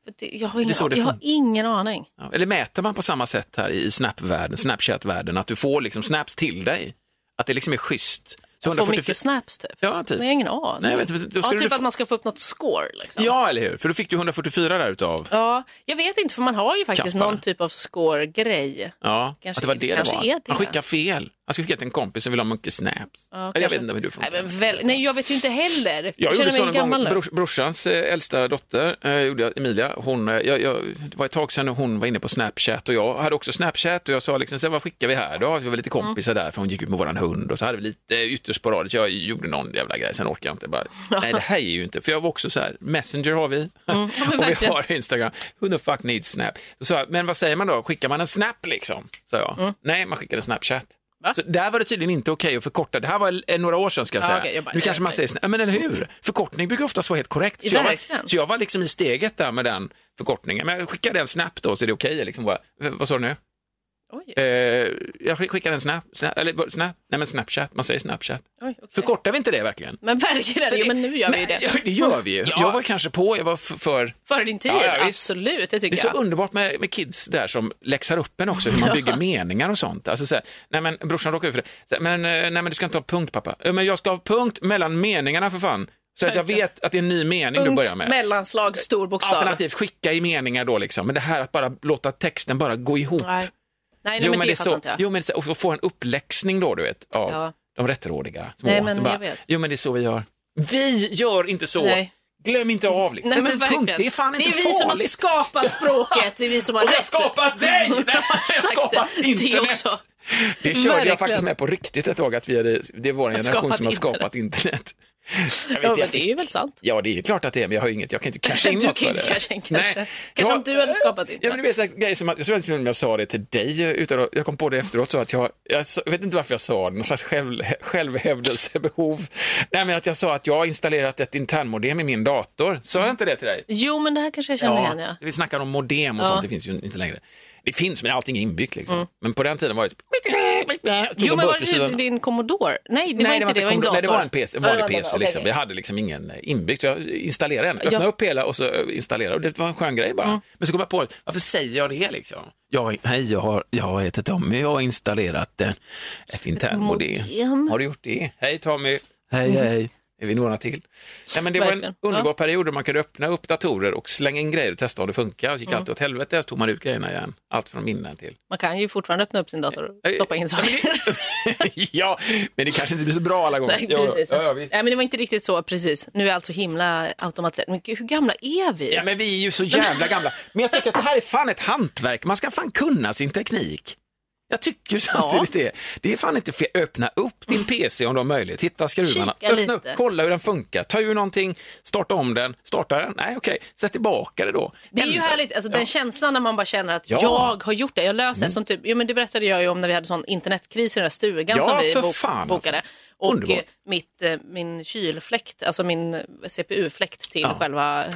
S1: För det- Jag har ingen,
S2: är så det
S1: jag har
S2: funkar.
S1: ingen aning.
S2: Ja, Eller mäter man på samma sätt här i Snap-världen, Snapchat-världen, att du får liksom snaps till dig? Att det liksom är schysst? Så
S1: Jag får mycket snaps typ.
S2: Ja,
S1: Nej,
S2: typ.
S1: jag har ingen aning.
S2: Nej, jag vet inte. Då
S1: ja,
S2: skulle
S1: typ
S2: du få-
S1: att man ska få upp något score. Liksom.
S2: Ja, eller hur? För då fick du 144 där utav.
S1: Ja, jag vet inte, för man har ju faktiskt
S2: Kaspar.
S1: någon typ av score-grej.
S2: Ja,
S1: Kanske-
S2: att det var det det
S1: kanske
S2: var.
S1: är det.
S2: Han skickar fel. Han skulle skicka till en kompis som vill ha Monkey Snaps.
S1: Ja,
S2: Eller jag
S1: kanske.
S2: vet inte hur du funkar.
S1: Nej, men väl, nej, jag vet ju inte heller.
S2: Jag
S1: känner
S2: gjorde
S1: mig
S2: så någon
S1: gammal
S2: gång,
S1: nu.
S2: brors, brorsans eh, äldsta dotter, eh, gjorde jag, Emilia, hon, eh, jag, jag, det var ett tag sedan hon var inne på Snapchat och jag hade också Snapchat och jag sa liksom, så här, vad skickar vi här då? Vi var lite kompisar där för hon gick ut med våran hund och så hade vi lite eh, ytterst sporadiskt, jag gjorde någon jävla grej, sen orkade jag inte. Bara, nej det här är ju inte, för jag var också så här, Messenger har vi [laughs] och vi
S1: Mm, verkligen.
S2: har Instagram, who the fuck needs Snap? Så, sa jag, men vad säger man då, skickar man en Snap liksom? Sa jag. Nej, man skickar en Snapchat.
S1: Mm. Va?
S2: Så där var det tydligen inte okej att förkorta, det här var eh, några år sedan ska jag
S1: Ja,
S2: säga.
S1: okej, jag bara,
S2: nu kanske man
S1: jag-
S2: säger Ja, men eller hur? Förkortning brukar oftast vara helt korrekt. Så jag, var,
S1: Verkligen.
S2: så jag var liksom i steget där med den förkortningen. Men jag skickade en snap då, så är det okej. Liksom bara, "V- vad sa du nu?
S1: Oj,
S2: Eh, jag skick- skickade en snap, snap, eller vad- snap, nej men snapchat, man säger snapchat.
S1: oj, okej.
S2: Förkortar vi inte det verkligen?
S1: Men verkligen,
S2: Så
S1: jo, men nu gör vi ju
S2: Nej,
S1: det.
S2: [laughs] Ja, det gör vi ju.
S1: Ja.
S2: Jag var kanske på, jag var f- för...
S1: Före din tid,
S2: Ja, ja, visst.
S1: absolut, det
S2: Det är
S1: tycker
S2: så
S1: jag.
S2: underbart med, med kids där som läxar upp en också, hur man bygger meningar och sånt. Alltså så här, nej men brorsan råkade ut för det. Så här, men, eh, nej men du ska inte ha punkt pappa. "Eh, Men jag ska ha punkt mellan meningarna för fan. Så att jag vet att det är en ny mening du börjar med.
S1: Punkt, mellanslag, stor bokstav.
S2: Alternativt skicka i meningar då liksom, men det här att bara låta texten bara gå ihop.
S1: Nej, nej, nej men det
S2: är
S1: fattar
S2: så,
S1: inte jag.
S2: jo men det är så, och så få en uppläxning då du vet, av
S1: Ja.
S2: de rättrådiga små.
S1: Nej, men
S2: som
S1: jag vet.
S2: Jo men det är så vi gör. Vi gör inte så.
S1: Nej.
S2: Glöm inte av liksom.
S1: Nej,
S2: Sätt
S1: men
S2: en punkt.
S1: verkligen.
S2: Det är fan inte
S1: det är vi
S2: farligt.
S1: som har
S2: [laughs]
S1: skapat språket, det är vi som har
S2: Och jag har
S1: rätt.
S2: skapat dig! Nej, jag har
S1: [laughs] Exakt,
S2: skapat
S1: det
S2: internet.
S1: också.
S2: Det körde
S1: Verkligen.
S2: jag faktiskt med på riktigt ett tag, att vi hade, det är vår
S1: Att
S2: generation
S1: skapat
S2: som har skapat internet. Jag
S1: Ja,
S2: vet, jag
S1: men det är
S2: fick-
S1: ju väl sant.
S2: Ja, det är klart att det är, men jag har inget, jag kan inte
S1: [laughs]
S2: casha in
S1: Du
S2: något
S1: kan
S2: för
S1: inte
S2: det.
S1: casha in, kanske.
S2: Nej.
S1: Kanske
S2: Ja,
S1: om du hade skapat
S2: Ja, men du vet, så här, grejer som att, jag tror inte om jag sa det till dig, utan att- jag kom på det efteråt, så att jag, jag sa- jag vet inte varför jag sa det, någon slags själv, självhävdelsebehov. Nej, men att jag sa att jag har installerat ett internmodem i min dator. Sa jag inte det till dig?
S1: Jo, men Mm. det här kanske jag känner igen, ja.
S2: Vi snackar om modem och
S1: Ja. Mm.
S2: sånt, det finns ju inte längre. Det finns, men allting är inbyggt liksom. Men på den tiden var det... Stod
S1: Jo, men
S2: en burk
S1: var
S2: vid sidan-
S1: det din Commodore? Nej, det var
S2: Nej,
S1: inte det, det var en
S2: kom-
S1: dator.
S2: Nej, det var en PC. Var
S1: Ja,
S2: det
S1: det var-
S2: PC
S1: okej,
S2: liksom.
S1: okej.
S2: Jag hade liksom ingen inbyggd, så jag installerade den. Öppnade
S1: Ja. Mm.
S2: upp hela och så eh, installerade. Och det var en skön grej bara. Men så kom jag på, varför säger jag det liksom? Jag, hej, jag har, jag heter Tommy, jag har installerat eh, ett internmodem.
S1: modem.
S2: Har du gjort det? Hej Tommy. Hej, hej. Är vi några till? Nej, men det var en
S1: Verkligen. Ja.
S2: underbar period då man kunde öppna upp datorer och slänga in grejer och testa om det funkar. Det gick
S1: Mm.
S2: alltid åt helvete, så tog man ut grejerna igen. Allt från minnen till. [laughs]
S1: Man kan ju fortfarande öppna upp sin dator och stoppa in saker.
S2: ja, men det kanske inte blir så bra alla gånger.
S1: Nej,
S2: Ja,
S1: precis.
S2: Ja, ja, visst.
S1: Nej, men det var inte riktigt så, precis. Nu är allt så himla automatiserat. Men gud, hur gamla är vi?
S2: Ja, men vi är ju så jävla gamla. Men jag tycker att det här är fan ett hantverk. Man ska fan kunna sin teknik. Jag tycker samtidigt det. Det är fan inte fel. Öppna upp din PC om du har möjlighet. Hitta skruvarna.
S1: Kika
S2: Öppna upp,
S1: lite.
S2: kolla hur den funkar. Ta ur någonting, starta om den, starta den. Nej, okej, sätt tillbaka det då.
S1: Det är ju
S2: Ändra.
S1: härligt, alltså, den känslan när man bara känner att
S2: Ja. Mm.
S1: jag har gjort det, jag löser det. Som typ, ja, men det berättade jag ju om när vi hade sån internetkris i den där stugan
S2: Ja,
S1: som vi
S2: för
S1: bok,
S2: fan,
S1: bokade.
S2: alltså.
S1: Och
S2: Underbart.
S1: eh, mitt, eh, min kylfläkt, alltså min eh, CPU-fläkt till
S2: Ja.
S1: själva eh,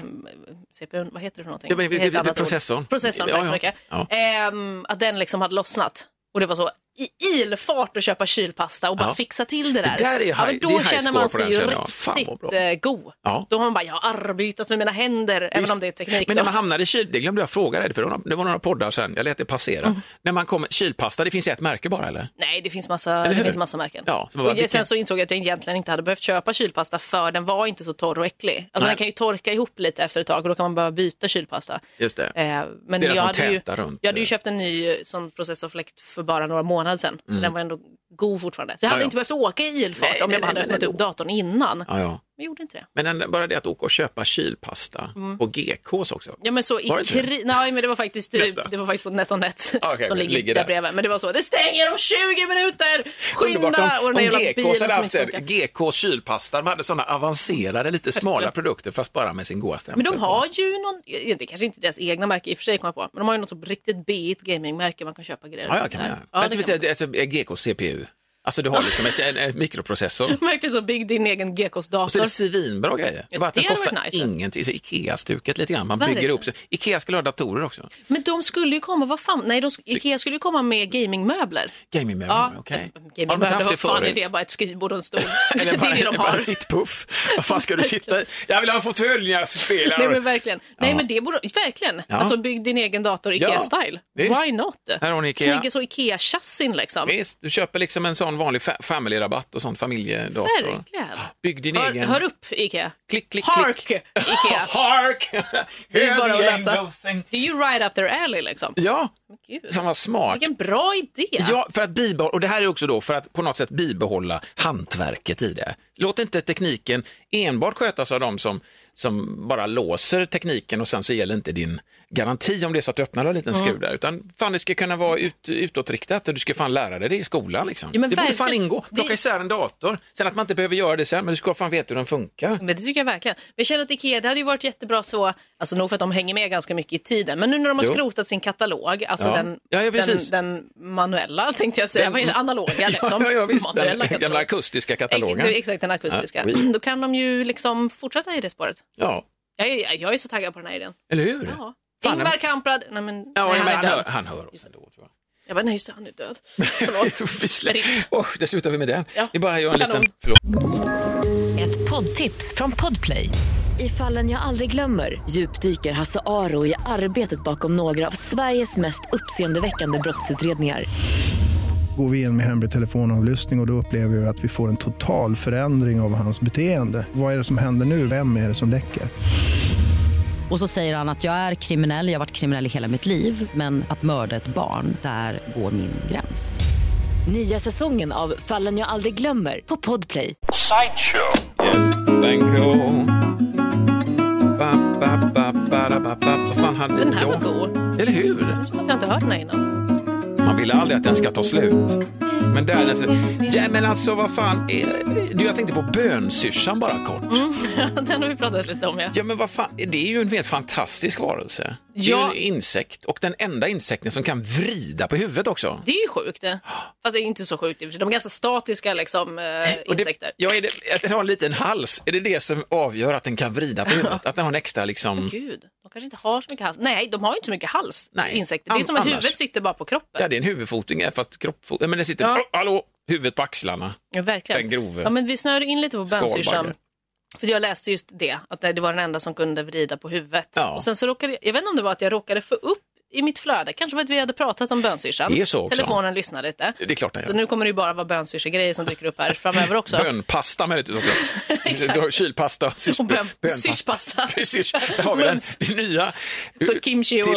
S1: CPUn, vad heter det för någonting?
S2: Ja, men vi-
S1: heter
S2: vi-
S1: ett annat ord.
S2: processorn.
S1: Processorn,
S2: Ja,
S1: tack så
S2: ja.
S1: mycket.
S2: Ja.
S1: Ehm, att den liksom hade lossnat. Och det var så i ilfart att köpa kylpasta och bara
S2: Ja.
S1: fixa till det där.
S2: där är ju
S1: ja, men
S2: high-
S1: då
S2: det är high
S1: känner
S2: score på
S1: man sig
S2: den,
S1: ju
S2: känner jag. Fan, vad
S1: riktigt
S2: bra.
S1: eh, god.
S2: Ja.
S1: Då har man bara, jag har arbetat med mina händer, även
S2: Visst.
S1: om det är teknik.
S2: Men
S1: då.
S2: när man hamnar i kyl, det glömde jag fråga dig, för det var några- det var några poddar sen, jag lät det passera.
S1: Mm.
S2: När man kommer, kylpasta, det finns ett märke bara eller?
S1: Nej, det finns massa, det
S2: hur?
S1: finns massa märken.
S2: Ja, så man bara,
S1: och jag-
S2: vilken-
S1: sen så insåg jag att jag egentligen inte hade behövt köpa kylpasta för den var inte så torr och äcklig. Alltså,
S2: Nej.
S1: den kan ju torka ihop lite efter ett tag och då kan man behöva byta kylpasta.
S2: Just det.
S1: Eh, men
S2: Det är den
S1: jag
S2: som
S1: hade, ju,
S2: tätar runt. eh.
S1: jag hade ju köpt en ny eh, sån processorfläkt för bara några månader sedan. Så den var ändå god fortfarande. Så jag hade
S2: Mm. Ja, ja.
S1: inte behövt åka i ilfart
S2: Nej,
S1: om
S2: nej,
S1: jag bara hade
S2: nej, men
S1: öppnat upp
S2: ändå.
S1: datorn innan. Men
S2: Ja, ja.
S1: jag gjorde inte det.
S2: Men den, bara det att åka och köpa kylpasta
S1: Mm.
S2: på GKs också.
S1: Ja men så i
S2: Var det inte det?
S1: kri- Nej men det var faktiskt,
S2: Nästa.
S1: det var faktiskt på NetOnNet
S2: Ah, okej,
S1: som
S2: okej,
S1: ligger,
S2: ligger
S1: där
S2: där.
S1: bredvid. Men det var så, det stänger om 20 minuter!
S2: Underbart om,
S1: Skynda!
S2: om
S1: och den jävla bilen
S2: GKs hade
S1: som
S2: haft
S1: inte
S2: det.
S1: funkar.
S2: GKs kylpasta, de hade sådana avancerade,
S1: [laughs]
S2: lite smala produkter fast bara med sin goa
S1: Men
S2: stämpel.
S1: de
S2: på.
S1: har ju någon, ja, det kanske inte är deras egna märke i och för sig kommer jag på, men de har ju något så riktigt B-igt gamingmärke man kan köpa grejer
S2: Ja, ja, kan man
S1: där.
S2: göra.
S1: Ja,
S2: Men
S1: det
S2: du
S1: kan Ah.
S2: vet,
S1: man.
S2: det är alltså, GKs CPU. Alltså du har liksom ett, en, en mikroprocessor.
S1: [laughs] Verkligen så, bygg din egen GKs
S2: Och så är
S1: dator.
S2: det svinbra grejer. Det är bara att
S1: Det
S2: den
S1: hade varit
S2: kostar
S1: nice.
S2: ingenting. Så Ikea-stuket lite grann. Man
S1: Verkligen.
S2: bygger upp sig. Ikea skulle ha datorer också.
S1: Men de skulle ju komma, vad fan, nej, de, sk- Ikea skulle ju komma med gamingmöbler.
S2: Gaming
S1: Ja,
S2: ja. okej. Har de inte
S1: gamingmöbler,
S2: haft det
S1: vad fan är
S2: förut?
S1: det? Bara ett skrivbord och en stol.
S2: [laughs] Eller
S1: det är det
S2: bara,
S1: de
S2: bara
S1: har.
S2: en sittpuff. Vad fan ska du sitta i? Jag vill ha en fåtölj när jag spelar.
S1: Nej men verkligen. Nej
S2: Ja.
S1: men det borde, verkligen.
S2: Ja.
S1: Alltså bygg din egen dator
S2: Ja,
S1: Ikea-style.
S2: visst.
S1: Why not?
S2: Här har ni Ikea.
S1: Snygga så Ikea-chassin liksom.
S2: Visst, du köper liksom en sån vanlig fa- family-rabatt och sånt, familjedator.
S1: Verkligen.
S2: Bygg din
S1: Hör,
S2: egen...
S1: hör upp Ikea.
S2: Klick, klick,
S1: Hark
S2: klick.
S1: Ikea.
S2: [laughs] Hark!
S1: [laughs] Det är ju
S2: Hear
S1: bara
S2: the
S1: att läsa.
S2: angels sing.
S1: Det är ju right up their alley liksom.
S2: Ja,
S1: gud.
S2: Fan vad smart.
S1: Vilken bra idé.
S2: Ja, för att bibehålla, och det här är också då för att på något sätt bibehålla hantverket i det. Låt inte tekniken enbart skötas av de som, som bara låser tekniken och sen så gäller inte din garanti om det är så att du öppnar en liten skur där, utan fan det ska kunna vara ut, utåtriktat och du ska fan lära dig det i skolan liksom.
S1: Ja, men
S2: det borde fan
S1: verkligen.
S2: ingå, plocka
S1: Det-
S2: isär en dator, sen att man inte behöver göra det sen, men du ska fan veta hur den funkar.
S1: Men det tycker jag verkligen. Men jag känner att Ikea, det hade ju varit jättebra så, alltså nog för att de hänger med ganska mycket i tiden, men nu när de har
S2: Jo.
S1: skrotat sin katalog, alltså
S2: Ja.
S1: den,
S2: Ja, ja,
S1: den,
S2: precis.
S1: den manuella tänkte jag säga,
S2: Den-
S1: vad är det, analoga liksom.
S2: [laughs] ja, ja, visst, den
S1: Manuella
S2: gamla
S1: katalog.
S2: akustiska katalogen.
S1: Ex- Exakt, den akustiska.
S2: Ja, oui.
S1: Då kan de ju liksom fortsätta i det spåret.
S2: Ja,
S1: Jag är, jag är så taggad på den här idén.
S2: eller hur?
S1: Ja.
S2: Fan,
S1: Ingvar
S2: men-
S1: Kamprad, nej men,
S2: Ja,
S1: nej, han
S2: men
S1: är
S2: han, hör,
S1: död.
S2: han hör oss ändå. Tror jag.
S1: Jag bara, nej just det, han är
S2: [laughs]
S1: död. Förlåt.
S2: Vi slä- Åh, där slutar vi med den.
S1: Ja.
S2: Det är bara jag en
S1: Kanon.
S2: liten... Förlåt.
S3: Ett poddtips från Podplay. I fallen jag aldrig glömmer djupdyker Hasse Aro i arbetet bakom några av Sveriges mest uppseendeväckande brottsutredningar.
S4: Går vi in med hemlig telefonavlyssning och, och då upplever vi att vi får en total förändring av hans beteende. Vad är det som händer nu? Vem är det som läcker?
S5: Och så säger han att jag är kriminell, jag har varit kriminell i hela mitt liv men att mörda ett barn, där går min gräns.
S3: Nya säsongen av Fallen jag aldrig glömmer på Podplay.
S6: Sideshow.
S2: Yes, thank you. Ba, ba, ba, ba, da, ba, ba. Vad fan hade
S1: Den här var
S2: jag?
S1: god.
S2: Eller hur?
S1: Som att jag inte hört den här innan.
S2: Man vill aldrig att den ska ta slut. Men där den... Ja, men alltså vad fan. eh, Du, jag tänkte på bönsyrsan bara kort.
S1: [laughs] den har vi pratat lite om ja.
S2: Ja, men vad fan. Det är ju en helt fantastisk varelse. Det är
S1: Ja.
S2: ju en insekt och den enda insekten som kan vrida på huvudet också.
S1: Det är ju sjukt det. Fast det är inte så sjukt i och för sig. De är ganska statiska liksom, eh,
S2: Och
S1: insekter.
S2: Det, ja, är det, att den har en liten hals, är det det som avgör att den kan vrida på huvudet? Att den har en extra liksom...
S1: Gud, de kanske inte har så mycket hals. Nej, de har ju inte så mycket hals,
S2: Nej.
S1: insekter. Det är
S2: An-
S1: som att
S2: annars.
S1: huvudet sitter bara på kroppen.
S2: Ja, det är en huvudfoting, fast kroppfot... Ja, men det sitter...
S1: Ja.
S2: Oh, hallå! Huvudet på axlarna.
S1: Ja, verkligen.
S2: Den grove.
S1: Ja, men vi snör in lite på bönsyrsan.
S2: Skalbagge.
S1: För jag läste just det, att det var den enda som kunde vrida på huvudet.
S2: Ja.
S1: Och sen så råkade, jag vet inte om det var att jag råkade få upp i mitt flöde, kanske för att vi hade pratat om bönsyrsan.
S2: Det är så också.
S1: Telefonen lyssnade inte.
S2: Det är klart den
S1: Så
S2: gör.
S1: nu kommer det ju bara vara bönsyrsegrejer som dyker upp här framöver också. [laughs]
S2: Bönpasta möjligtvis också.
S1: Exakt.
S2: Du har Kylpasta, syrs-
S1: Och bön-
S2: bönpasta.
S1: syrspasta.
S2: Syrs- Där har vi den. Det [laughs] nya.
S1: Så kimchi och,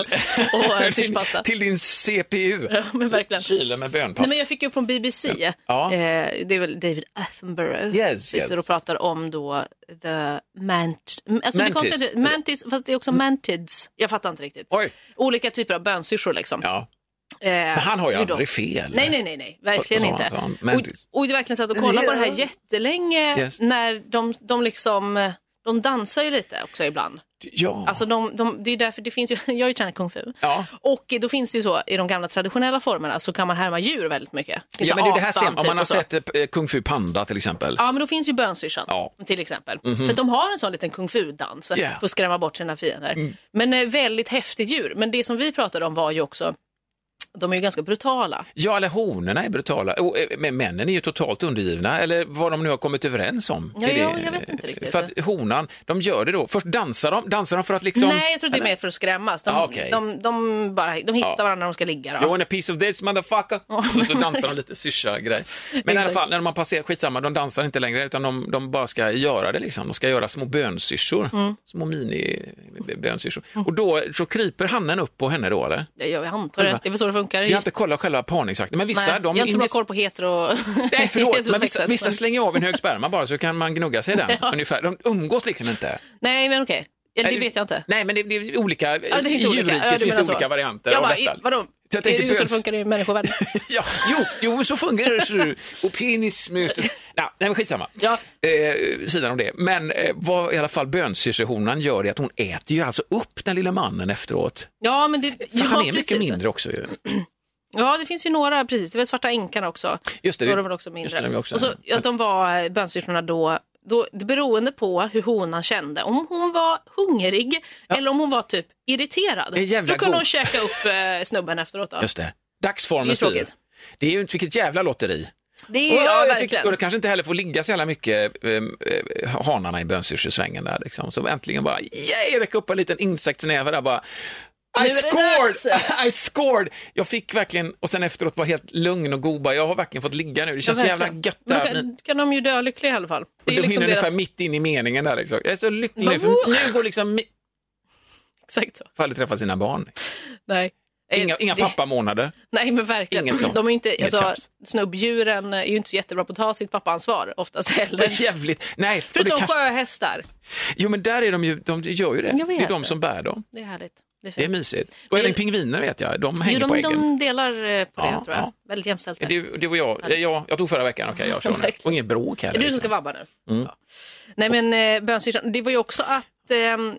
S1: och eh, syrspasta.
S2: [laughs] Till din CPU.
S1: Ja, men verkligen.
S2: Kylen med
S1: Nej,
S2: bönpasta.
S1: men jag fick ju upp från BBC,
S2: Ja.
S1: eh, det är väl David Attenborough,
S2: Yes,
S1: som sitter
S2: yes.
S1: och pratar om då the mant alltså
S2: Mantis.
S1: Det konstiga, är- mantis, fast det är också mantids. Jag fattar inte riktigt.
S2: Oj.
S1: Olika typer av bönsyrsor liksom.
S2: Ja.
S1: Eh,
S2: Men han har ju
S1: hur de-
S2: aldrig fel.
S1: Nej, nej, nej, nej. verkligen
S2: Så-
S1: inte.
S2: så han- mantis.
S1: och, och jag verkligen satt och kollade på det här jättelänge
S2: Yes.
S1: när de, de liksom, eh, de dansar ju lite också ibland.
S2: Ja.
S1: Alltså de, de, det är därför det finns ju, [laughs] jag har ju tränat kung fu.
S2: Ja.
S1: Och då finns det ju så, i de gamla traditionella formerna så kan man härma djur väldigt mycket. Det finns
S2: ja, men det är det här
S1: apan
S2: sen, om
S1: typ
S2: man har
S1: och så.
S2: sett eh, Kung Fu Panda till exempel.
S1: Ja, men då finns ju bönsyrsan
S2: Ja. Mhm.
S1: till exempel. För att de har en sån liten kung fu-dans
S2: Yeah.
S1: för att skrämma bort sina fiender.
S2: Mm.
S1: Men eh, väldigt häftigt djur. Men det som vi pratade om var ju också, de är ju ganska brutala.
S2: Ja, eller honorna är brutala. Och, eh, Men männen är ju totalt undergivna, eller vad de nu har kommit överens om.
S1: Ja,
S2: Är det-
S1: ja, jag vet inte riktigt.
S2: För att honan, de gör det då. Först dansar de, dansar de för att liksom...
S1: Nej, jag tror det är mer för att skrämmas. De,
S2: Ah, okej.
S1: de, de, bara, de hittar
S2: Ja.
S1: varandra när de ska ligga.
S2: You
S1: Då.
S2: want a piece of this motherfucker? och så dansar de lite syrsa-grej. Men i alla
S1: Exakt.
S2: fall, när man passerar, skitsamma, de dansar inte längre utan de, de bara ska göra det liksom. De ska göra små bönsyrsor,
S1: Mm.
S2: små mini-bönsyrsor. Och då så kryper hannen upp på henne då eller?
S1: Jag, jag antar det. Det är väl så det funkar.
S2: Jag har inte kollat själva parningsakten, men vissa...
S1: Nej,
S2: de
S1: jag har inte så bra
S2: invest-
S1: koll på hetero... [laughs]
S2: Nej, förlåt, men vissa,
S1: heterosexuellt,
S2: vissa slänger av en hög sperma bara så kan man gnugga sig i
S1: [laughs]
S2: den. Ungefär. De umgås liksom inte.
S1: Nej, men okej. Eller det vet jag inte.
S2: Nej, men det, det är olika.
S1: Ja, det
S2: I
S1: finns olika,
S2: djurriket
S1: ja, du
S2: finns det
S1: menar så.
S2: olika varianter
S1: jag
S2: av
S1: bara,
S2: detta.
S1: i- Vadå?
S2: Så jag
S1: är
S2: tänkte
S1: det ju så det
S2: böns-
S1: funkar i
S2: [laughs]
S1: människovärlden?
S2: Ja, jo, jo, så fungerar det. ser du. Och penis möter... Nej, nej, men skitsamma.
S1: Ja.
S2: Eh, sidan om det. Men eh, vad i alla fall bönsyrsehonan gör är att hon äter ju alltså upp den lilla mannen efteråt.
S1: Ja, men det...
S2: För
S1: ja,
S2: han är mycket
S1: precis.
S2: mindre också ju.
S1: Ja, det finns ju några, precis. Det var Svarta änkan också.
S2: Just det,
S1: Då
S2: det-
S1: var de väl också
S2: just
S1: mindre.
S2: det, det var också-
S1: och så,
S2: men-
S1: att de var eh, bönsyrsorna då, då, det beroende på hur honan kände, om hon var hungrig eller om hon var typ irriterad.
S2: En jävla
S1: Då kunde
S2: god-
S1: hon käka upp eh, snubben efteråt. Då.
S2: Just det.
S1: Det är
S2: Dagsformen
S1: ju
S2: styr.
S1: tråkigt.
S2: Det är ju vilket jävla lotteri.
S1: Det
S2: Och,
S1: är ja,
S2: ja, jag fick, och
S1: verkligen.
S2: då kanske inte heller får ligga så jävla mycket eh, eh, hanarna i bönsyrsesvängen där liksom. Så äntligen bara, yay, räcka upp en liten insektsnäve där bara.
S1: Nu
S2: I
S1: är det
S2: scored! [laughs] I scored! Jag fick verkligen, och sen efteråt var helt lugn och god, bara, jag har verkligen fått ligga nu, det känns så jävla
S1: verkligen.
S2: gött
S1: Men
S2: där.
S1: Då kan, kan de ju dö lyckliga i alla fall. Det
S2: Och
S1: är
S2: de
S1: ju
S2: hinner
S1: liksom deras...
S2: ungefär mitt in i meningen där liksom. Jag är så lycklig nu,
S1: Bara,
S2: för nu går liksom, mi-
S1: [laughs] Exakt så.
S2: får aldrig träffa sina barn.
S1: Nej. Eh,
S2: Inga, inga
S1: det-
S2: pappamånader.
S1: Nej men verkligen.
S2: Inget sånt.
S1: De är ju inte,
S2: Inget
S1: alltså,
S2: tjafs.
S1: snubbdjuren är ju inte så jättebra på att ta sitt pappansvar oftast
S2: Det
S1: heller.
S2: är jävligt. Nej, och det
S1: Förutom
S2: kanske,
S1: sjöhästar.
S2: jo men där är de ju, de gör ju det.
S1: Jag vet
S2: Det är de
S1: det.
S2: som bär dem.
S1: Det är härligt. Det är fint.
S2: Det är mysigt. Och även
S1: Men-
S2: pingviner vet jag, de hänger
S1: Jo,
S2: på
S1: de,
S2: äggen.
S1: de delar eh, på det
S2: Ja,
S1: tror jag.
S2: ja.
S1: Väldigt jämställt.
S2: Är
S1: där.
S2: Du, du och jag, eh, jag, jag tog förra veckan, okej jag kör nu.
S1: Verkligen.
S2: Och ingen bråk
S1: Är
S2: heller. liksom.
S1: det du som ska vabba nu?
S2: Mm.
S1: Ja. Nej men eh, bönsyrran, det var ju också att, ehm,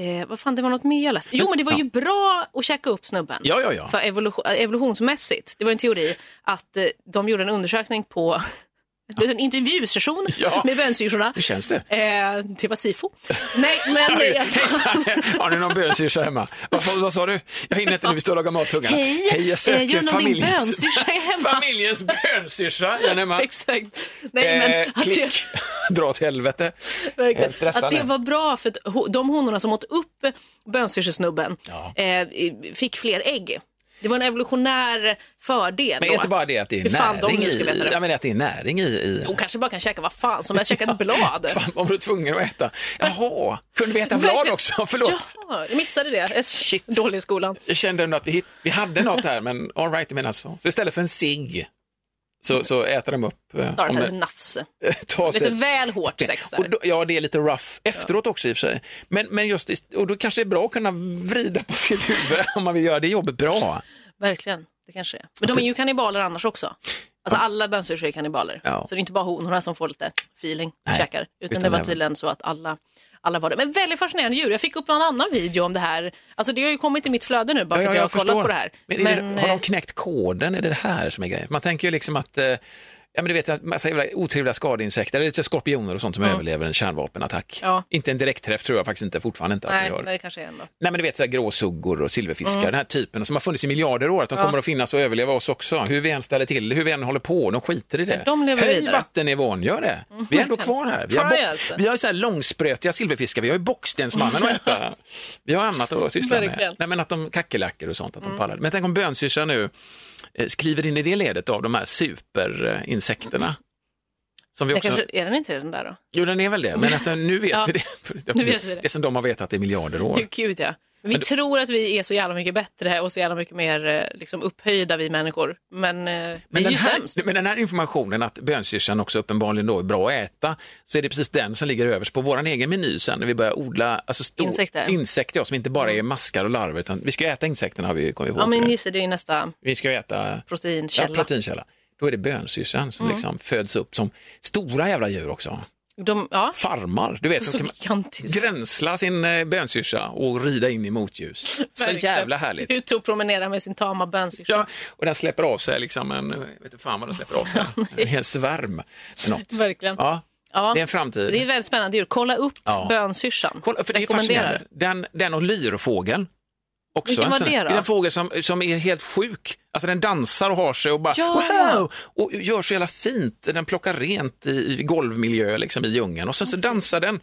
S1: eh, vad fan det var något mer jag läste. Jo men det var ju bra att käka upp snubben.
S2: Ja, ja, ja.
S1: För evolution, eh, evolutionsmässigt, det var en teori att eh, de gjorde en undersökning på [laughs] en intervjusession
S2: Ja.
S1: med bönsyrsorna.
S2: Hur känns det?
S1: Eh, det var sifo. Nej men
S2: Hej,
S1: eh,
S2: hejsan. Har ni någon bönsyrsa hemma? Vad, fa- vad sa du? Jag hinner inte nu, vi står och lagar mattungarna.
S1: Hej,
S2: jag
S1: eh,
S2: söker
S1: gör någon din bönsyrsa är hemma?
S2: Familjens bönsyrsa, är ni hemma?
S1: [laughs] exakt. Nej men
S2: Eh,
S1: att
S2: klick.
S1: jag,
S2: [laughs] Dra åt helvete.
S1: Verkligen.
S2: Helt stressande.
S1: Att det var bra för att ho- de honorna som åt upp bönsyrsesnubben eh, fick fler ägg. Det var en evolutionär fördel.
S2: Men
S1: då.
S2: inte bara det att det är
S1: Hur fan de
S2: näring
S1: nu ska veta
S2: i,
S1: det.
S2: ja, men att det är näring i, i
S1: Hon kanske bara kan käka vad fan som helst, käka ett blad.
S2: [laughs] Fan, vad var du tvungen att äta? Jaha, kunde vi äta blad
S1: Verkligen.
S2: också? Förlåt.
S1: Jaha, jag missade det. Jag är så
S2: Shit.
S1: Dålig i skolan.
S2: Jag kände ändå att vi, hit, vi hade något här, men all right, jag menar så. Så istället för en cigg så, så äter de upp. eh,
S1: Tar
S2: om-
S1: en liten nafs.
S2: [laughs] tar
S1: Lite väl hårt sex
S2: och
S1: där.
S2: då, ja, det är lite rough efteråt också i och för sig. Men, men just, i- och då kanske det är bra att kunna vrida på sitt huvud [laughs] om man vill göra det jobbet bra.
S1: Verkligen, det kanske är. Men de är ju kannibaler annars också. Alltså alla bönsyrsor är kannibaler.
S2: Ja.
S1: Så det är inte bara honorna som får lite feeling och
S2: Nej,
S1: käkar. Utan,
S2: utan
S1: det var
S2: även-
S1: tydligen så att alla, alla var det. Men väldigt fascinerande djur. Jag fick upp en annan video om det här. Alltså det har ju kommit i mitt flöde nu bara för att jag, har kollat på det här.
S2: Men, är det- har de
S1: eh,
S2: knäckt koden? Är det det här som är grejen? Man tänker ju liksom att eh, Ja, men du vet, att massa jävla otrevliga skadeinsekter, eller lite skorpioner och sånt som överlever en kärnvapenattack.
S1: Ja.
S2: Inte en direkt träff tror jag faktiskt inte, fortfarande inte att de
S1: Nej,
S2: gör.
S1: men det kanske är ändå.
S2: Nej men du vet så här gråsuggor och silverfiskar,
S1: Mm.
S2: den här typen som har funnits i miljarder år, att de kommer att finnas och överleva oss också. Hur vi än ställer till hur vi än håller på, de skiter i det.
S1: De lever
S2: Höj
S1: vidare. Mm,
S2: vattennivån, gör det. Vi är ändå kvar här. Vi har,
S1: Try
S2: bo-
S1: us.
S2: vi har ju så här långsprötiga silverfiskar, vi har ju bockstensmannen
S1: [laughs]
S2: att äta. Vi har annat att syssla med.
S1: Verkligen. Mm.
S2: Nej men att de kackerlackor och sånt, att de pallar. Men tänk om bönsyrsan nu eh, skriver in i det ledet av de här superinsekterna. Som vi
S1: Det
S2: också...
S1: kanske, är den inte den där då?
S2: Jo, den är väl det, men alltså, nu vet
S1: Ja.
S2: vi det. [laughs]
S1: Nu vet vi det.
S2: det som de har vetat i miljarder år.
S1: [laughs] Gud ja. Vi tror att vi är så jävla mycket bättre och så jävla mycket mer eh, liksom, upphöjda vi människor. Men, eh, vi
S2: Men
S1: är
S2: den,
S1: ju
S2: här,
S1: sämst.
S2: men den här informationen att bönsyrsan också uppenbarligen då är bra att äta, så är det precis den som ligger överst på vår egen meny sen när vi börjar odla alltså stor,
S1: Insekter.
S2: insekter ja, som inte bara är maskar och larver, utan vi ska ju äta insekterna har vi kommit ihåg.
S1: Ja men
S2: tror jag.
S1: just det, det är ju nästa
S2: Vi ska ju äta ja,
S1: proteinkälla.
S2: proteinkälla. Då är det bönsyrsan som liksom föds upp som stora jävla djur också.
S1: De, ja,
S2: Farmar, du vet.
S1: så
S2: Så kan man
S1: gigantiskt.
S2: gränsla sin eh, bönsyrsa och rida in i motljus. så
S1: Verkligen.
S2: jävla härligt.
S1: Ut och promenera med sin tama bönsyrsa.
S2: Ja, och den släpper av sig liksom en, vet inte fan vad den släpper
S1: [laughs]
S2: av sig, en hel svärm. Med något.
S1: Verkligen.
S2: Ja,
S1: Ja.
S2: det är en framtid.
S1: Det är ett väldigt spännande djur. Kolla upp
S2: Ja.
S1: bönsyrsan.
S2: Kolla, för det är
S1: Rekommenderar.
S2: fascinerande. Den, den och lyrfågeln. Också
S1: Vilken
S2: en
S1: var
S2: sån-
S1: det då?
S2: är en fågel som, som är helt sjuk. Alltså den dansar och har sig och bara
S1: Ja.
S2: wow! Och gör så jävla fint. Den plockar rent i, i golvmiljö liksom, i djungeln och sen så dansar den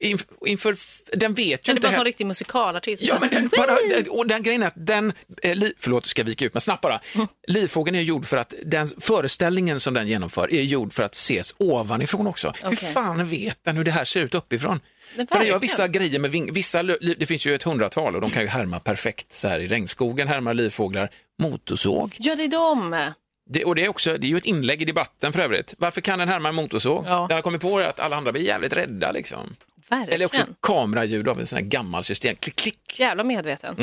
S2: inf, inför, den vet ju
S1: Men det är
S2: inte
S1: bara en
S2: he-
S1: sån riktig musikalartist.
S2: Ja, men den, bara, den- och den grejen är att den, eh, ly, förlåt ska jag vika ut men snabbt bara,
S1: Mm.
S2: Livfågeln är gjord för att den föreställningen som den genomför är gjord för att ses ovanifrån också. Hur
S1: Okej.
S2: fan vet den hur det här ser ut uppifrån?
S1: Men
S2: För den gör
S1: verkligen.
S2: vissa grejer med ving, vissa, lö- li- det finns ju ett hundratal och de kan ju härma perfekt så här i regnskogen, härmar livfåglar, motorsåg.
S1: Ja, det är de.
S2: Det, och det är, också, det är ju ett inlägg i debatten för övrigt. Varför kan den härma en motorsåg?
S1: Ja.
S2: Den har kommit på det att alla andra blir jävligt rädda liksom.
S1: Verkligen.
S2: Eller också kameraljud av en sån här gammal system, klick, klick,
S1: Jävla medveten.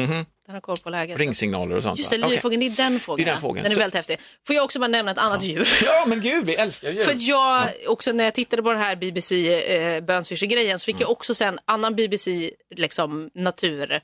S1: Den har koll på läget.
S2: ringsignaler och sånt.
S1: Just det,
S2: va? Mhm. Okej.
S1: lyrfågeln, det är den fågeln.
S2: Det är den
S1: ja.
S2: fågeln.
S1: Den är
S2: Så-
S1: väldigt häftig. Får jag också bara nämna ett annat djur?
S2: Ja, men gud, vi älskar ju
S1: För att jag, också när jag tittade på den här BBC eh, bönsyrsegrejen så fick jag också sen annan BBC liksom natur, eh,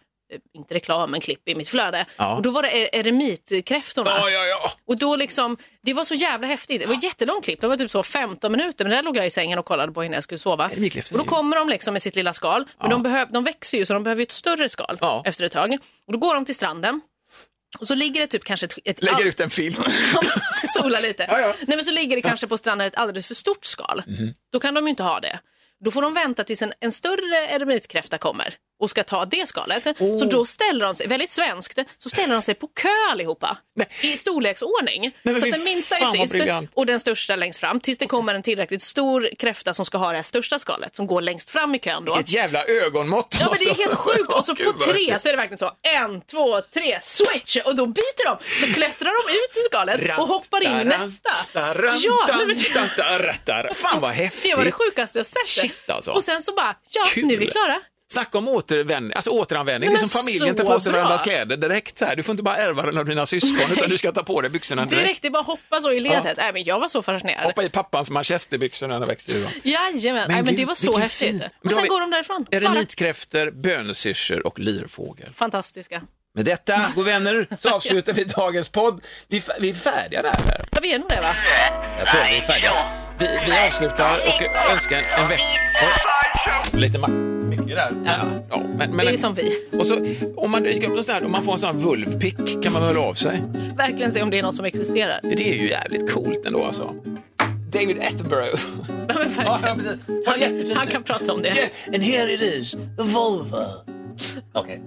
S1: inte reklam men klipp i mitt flöde.
S2: Ja.
S1: Och då var det e- eremitkräftorna.
S2: Ja, ja, ja.
S1: Och då liksom, det var så jävla häftigt. Det var ett jättelångt klipp, det var typ så 15 minuter. Men där låg jag i sängen och kollade på innan jag skulle sova.
S2: Eremitkräftor
S1: Och då
S2: är ju-
S1: kommer de liksom med sitt lilla skal. Men de, behöv, de växer ju så de behöver ju ett större skal
S2: Ja.
S1: efter ett tag. Och då går de till stranden. Och så ligger det typ kanske ett... ett
S2: Lägger ut en film. [laughs]
S1: [laughs] sola liksom lite. Nej, men så ligger det kanske på stranden ett alldeles för stort skal. Då kan de ju inte ha det. Då får de vänta tills en, en större eremitkräfta kommer. och ska ta det skalet.
S2: Oh.
S1: Så då ställer de sig, väldigt svenskt, så ställer de sig på kö allihopa i storleksordning.
S2: men
S1: så att
S2: fy
S1: den minsta
S2: fan, vad
S1: är sist
S2: briljant.
S1: och den största längst fram tills det kommer en tillräckligt stor kräfta som ska ha det här största skalet som går längst fram i kön då.
S2: Ett jävla ögonmått.
S1: Ja men det är helt sjukt och så på
S2: Gud, vad
S1: tre så är det verkligen så en, två, tre, switch och då byter de så klättrar de ut ur skalet och hoppar in i nästa. Ja, nej, men det-
S2: men... Fan vad häftigt.
S1: det var det sjukaste jag sett.
S2: Shit, alltså.
S1: Och sen så bara, ja
S2: Kul.
S1: nu är vi klara.
S2: Snacka om återvänd, alltså återanvändning.
S1: Nej,
S2: det är som
S1: men
S2: familjen
S1: så
S2: tar på sig
S1: bra.
S2: varandras kläder direkt. Så här. Du får inte bara ärva den av dina syskon utan du ska ta på dig byxorna direkt.
S1: Direkt, det är bara att hoppa så i ledet. Nej, men jag var så fascinerad.
S2: Hoppa i pappans manchesterbyxor när han växte ur.
S1: Jajamän, Nej, men det var så häftigt. Men sen går de därifrån. Bara.
S2: Eremitkräftor, bönsyrsor och lyrfågel.
S1: Fantastiska.
S2: Med detta, goda vänner, så avslutar vi dagens podd. Vi, är fa- vi är färdiga där.
S1: Ja, vi är nog det va?
S2: Jag tror vi är färdiga. Vi, vi avslutar och önskar en vecka... Lite ma- mycket där.
S1: Ja.
S2: Ja, men, men,
S1: Det är som vi.
S2: Och så, om man dyker upp något sånt här, om man får en sån här vulvpick kan man väl höra av sig?
S1: Verkligen se om det är något som existerar.
S2: Det är ju jävligt coolt ändå alltså. David Attenborough.
S1: [laughs] Ja, men
S2: Ja,
S1: verkligen.
S2: precis.
S1: Han kan- han kan prata om det.
S2: And here it is, Volvo. Okej.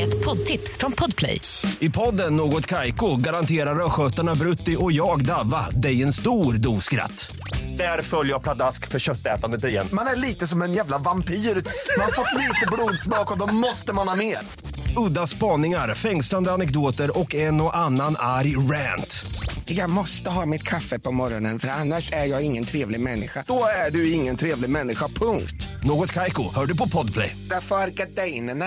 S3: Ett poddtips från Podplay.
S6: I podden Något Kaiko garanterar östgötarna Brutti och jag, Davva, dig en stor dos skratt. Där följer jag pladask för köttätandet igen.
S7: Man är lite som en jävla vampyr. Man har fått lite blodsmak och då måste man ha mer.
S6: Udda spaningar, fängslande anekdoter och en och annan arg rant.
S7: Jag måste ha mitt kaffe på morgonen för annars är jag ingen trevlig människa. Då är du ingen trevlig människa, punkt.
S6: Något Kaiko, hör du på Podplay.
S7: Därför arkadeinerna.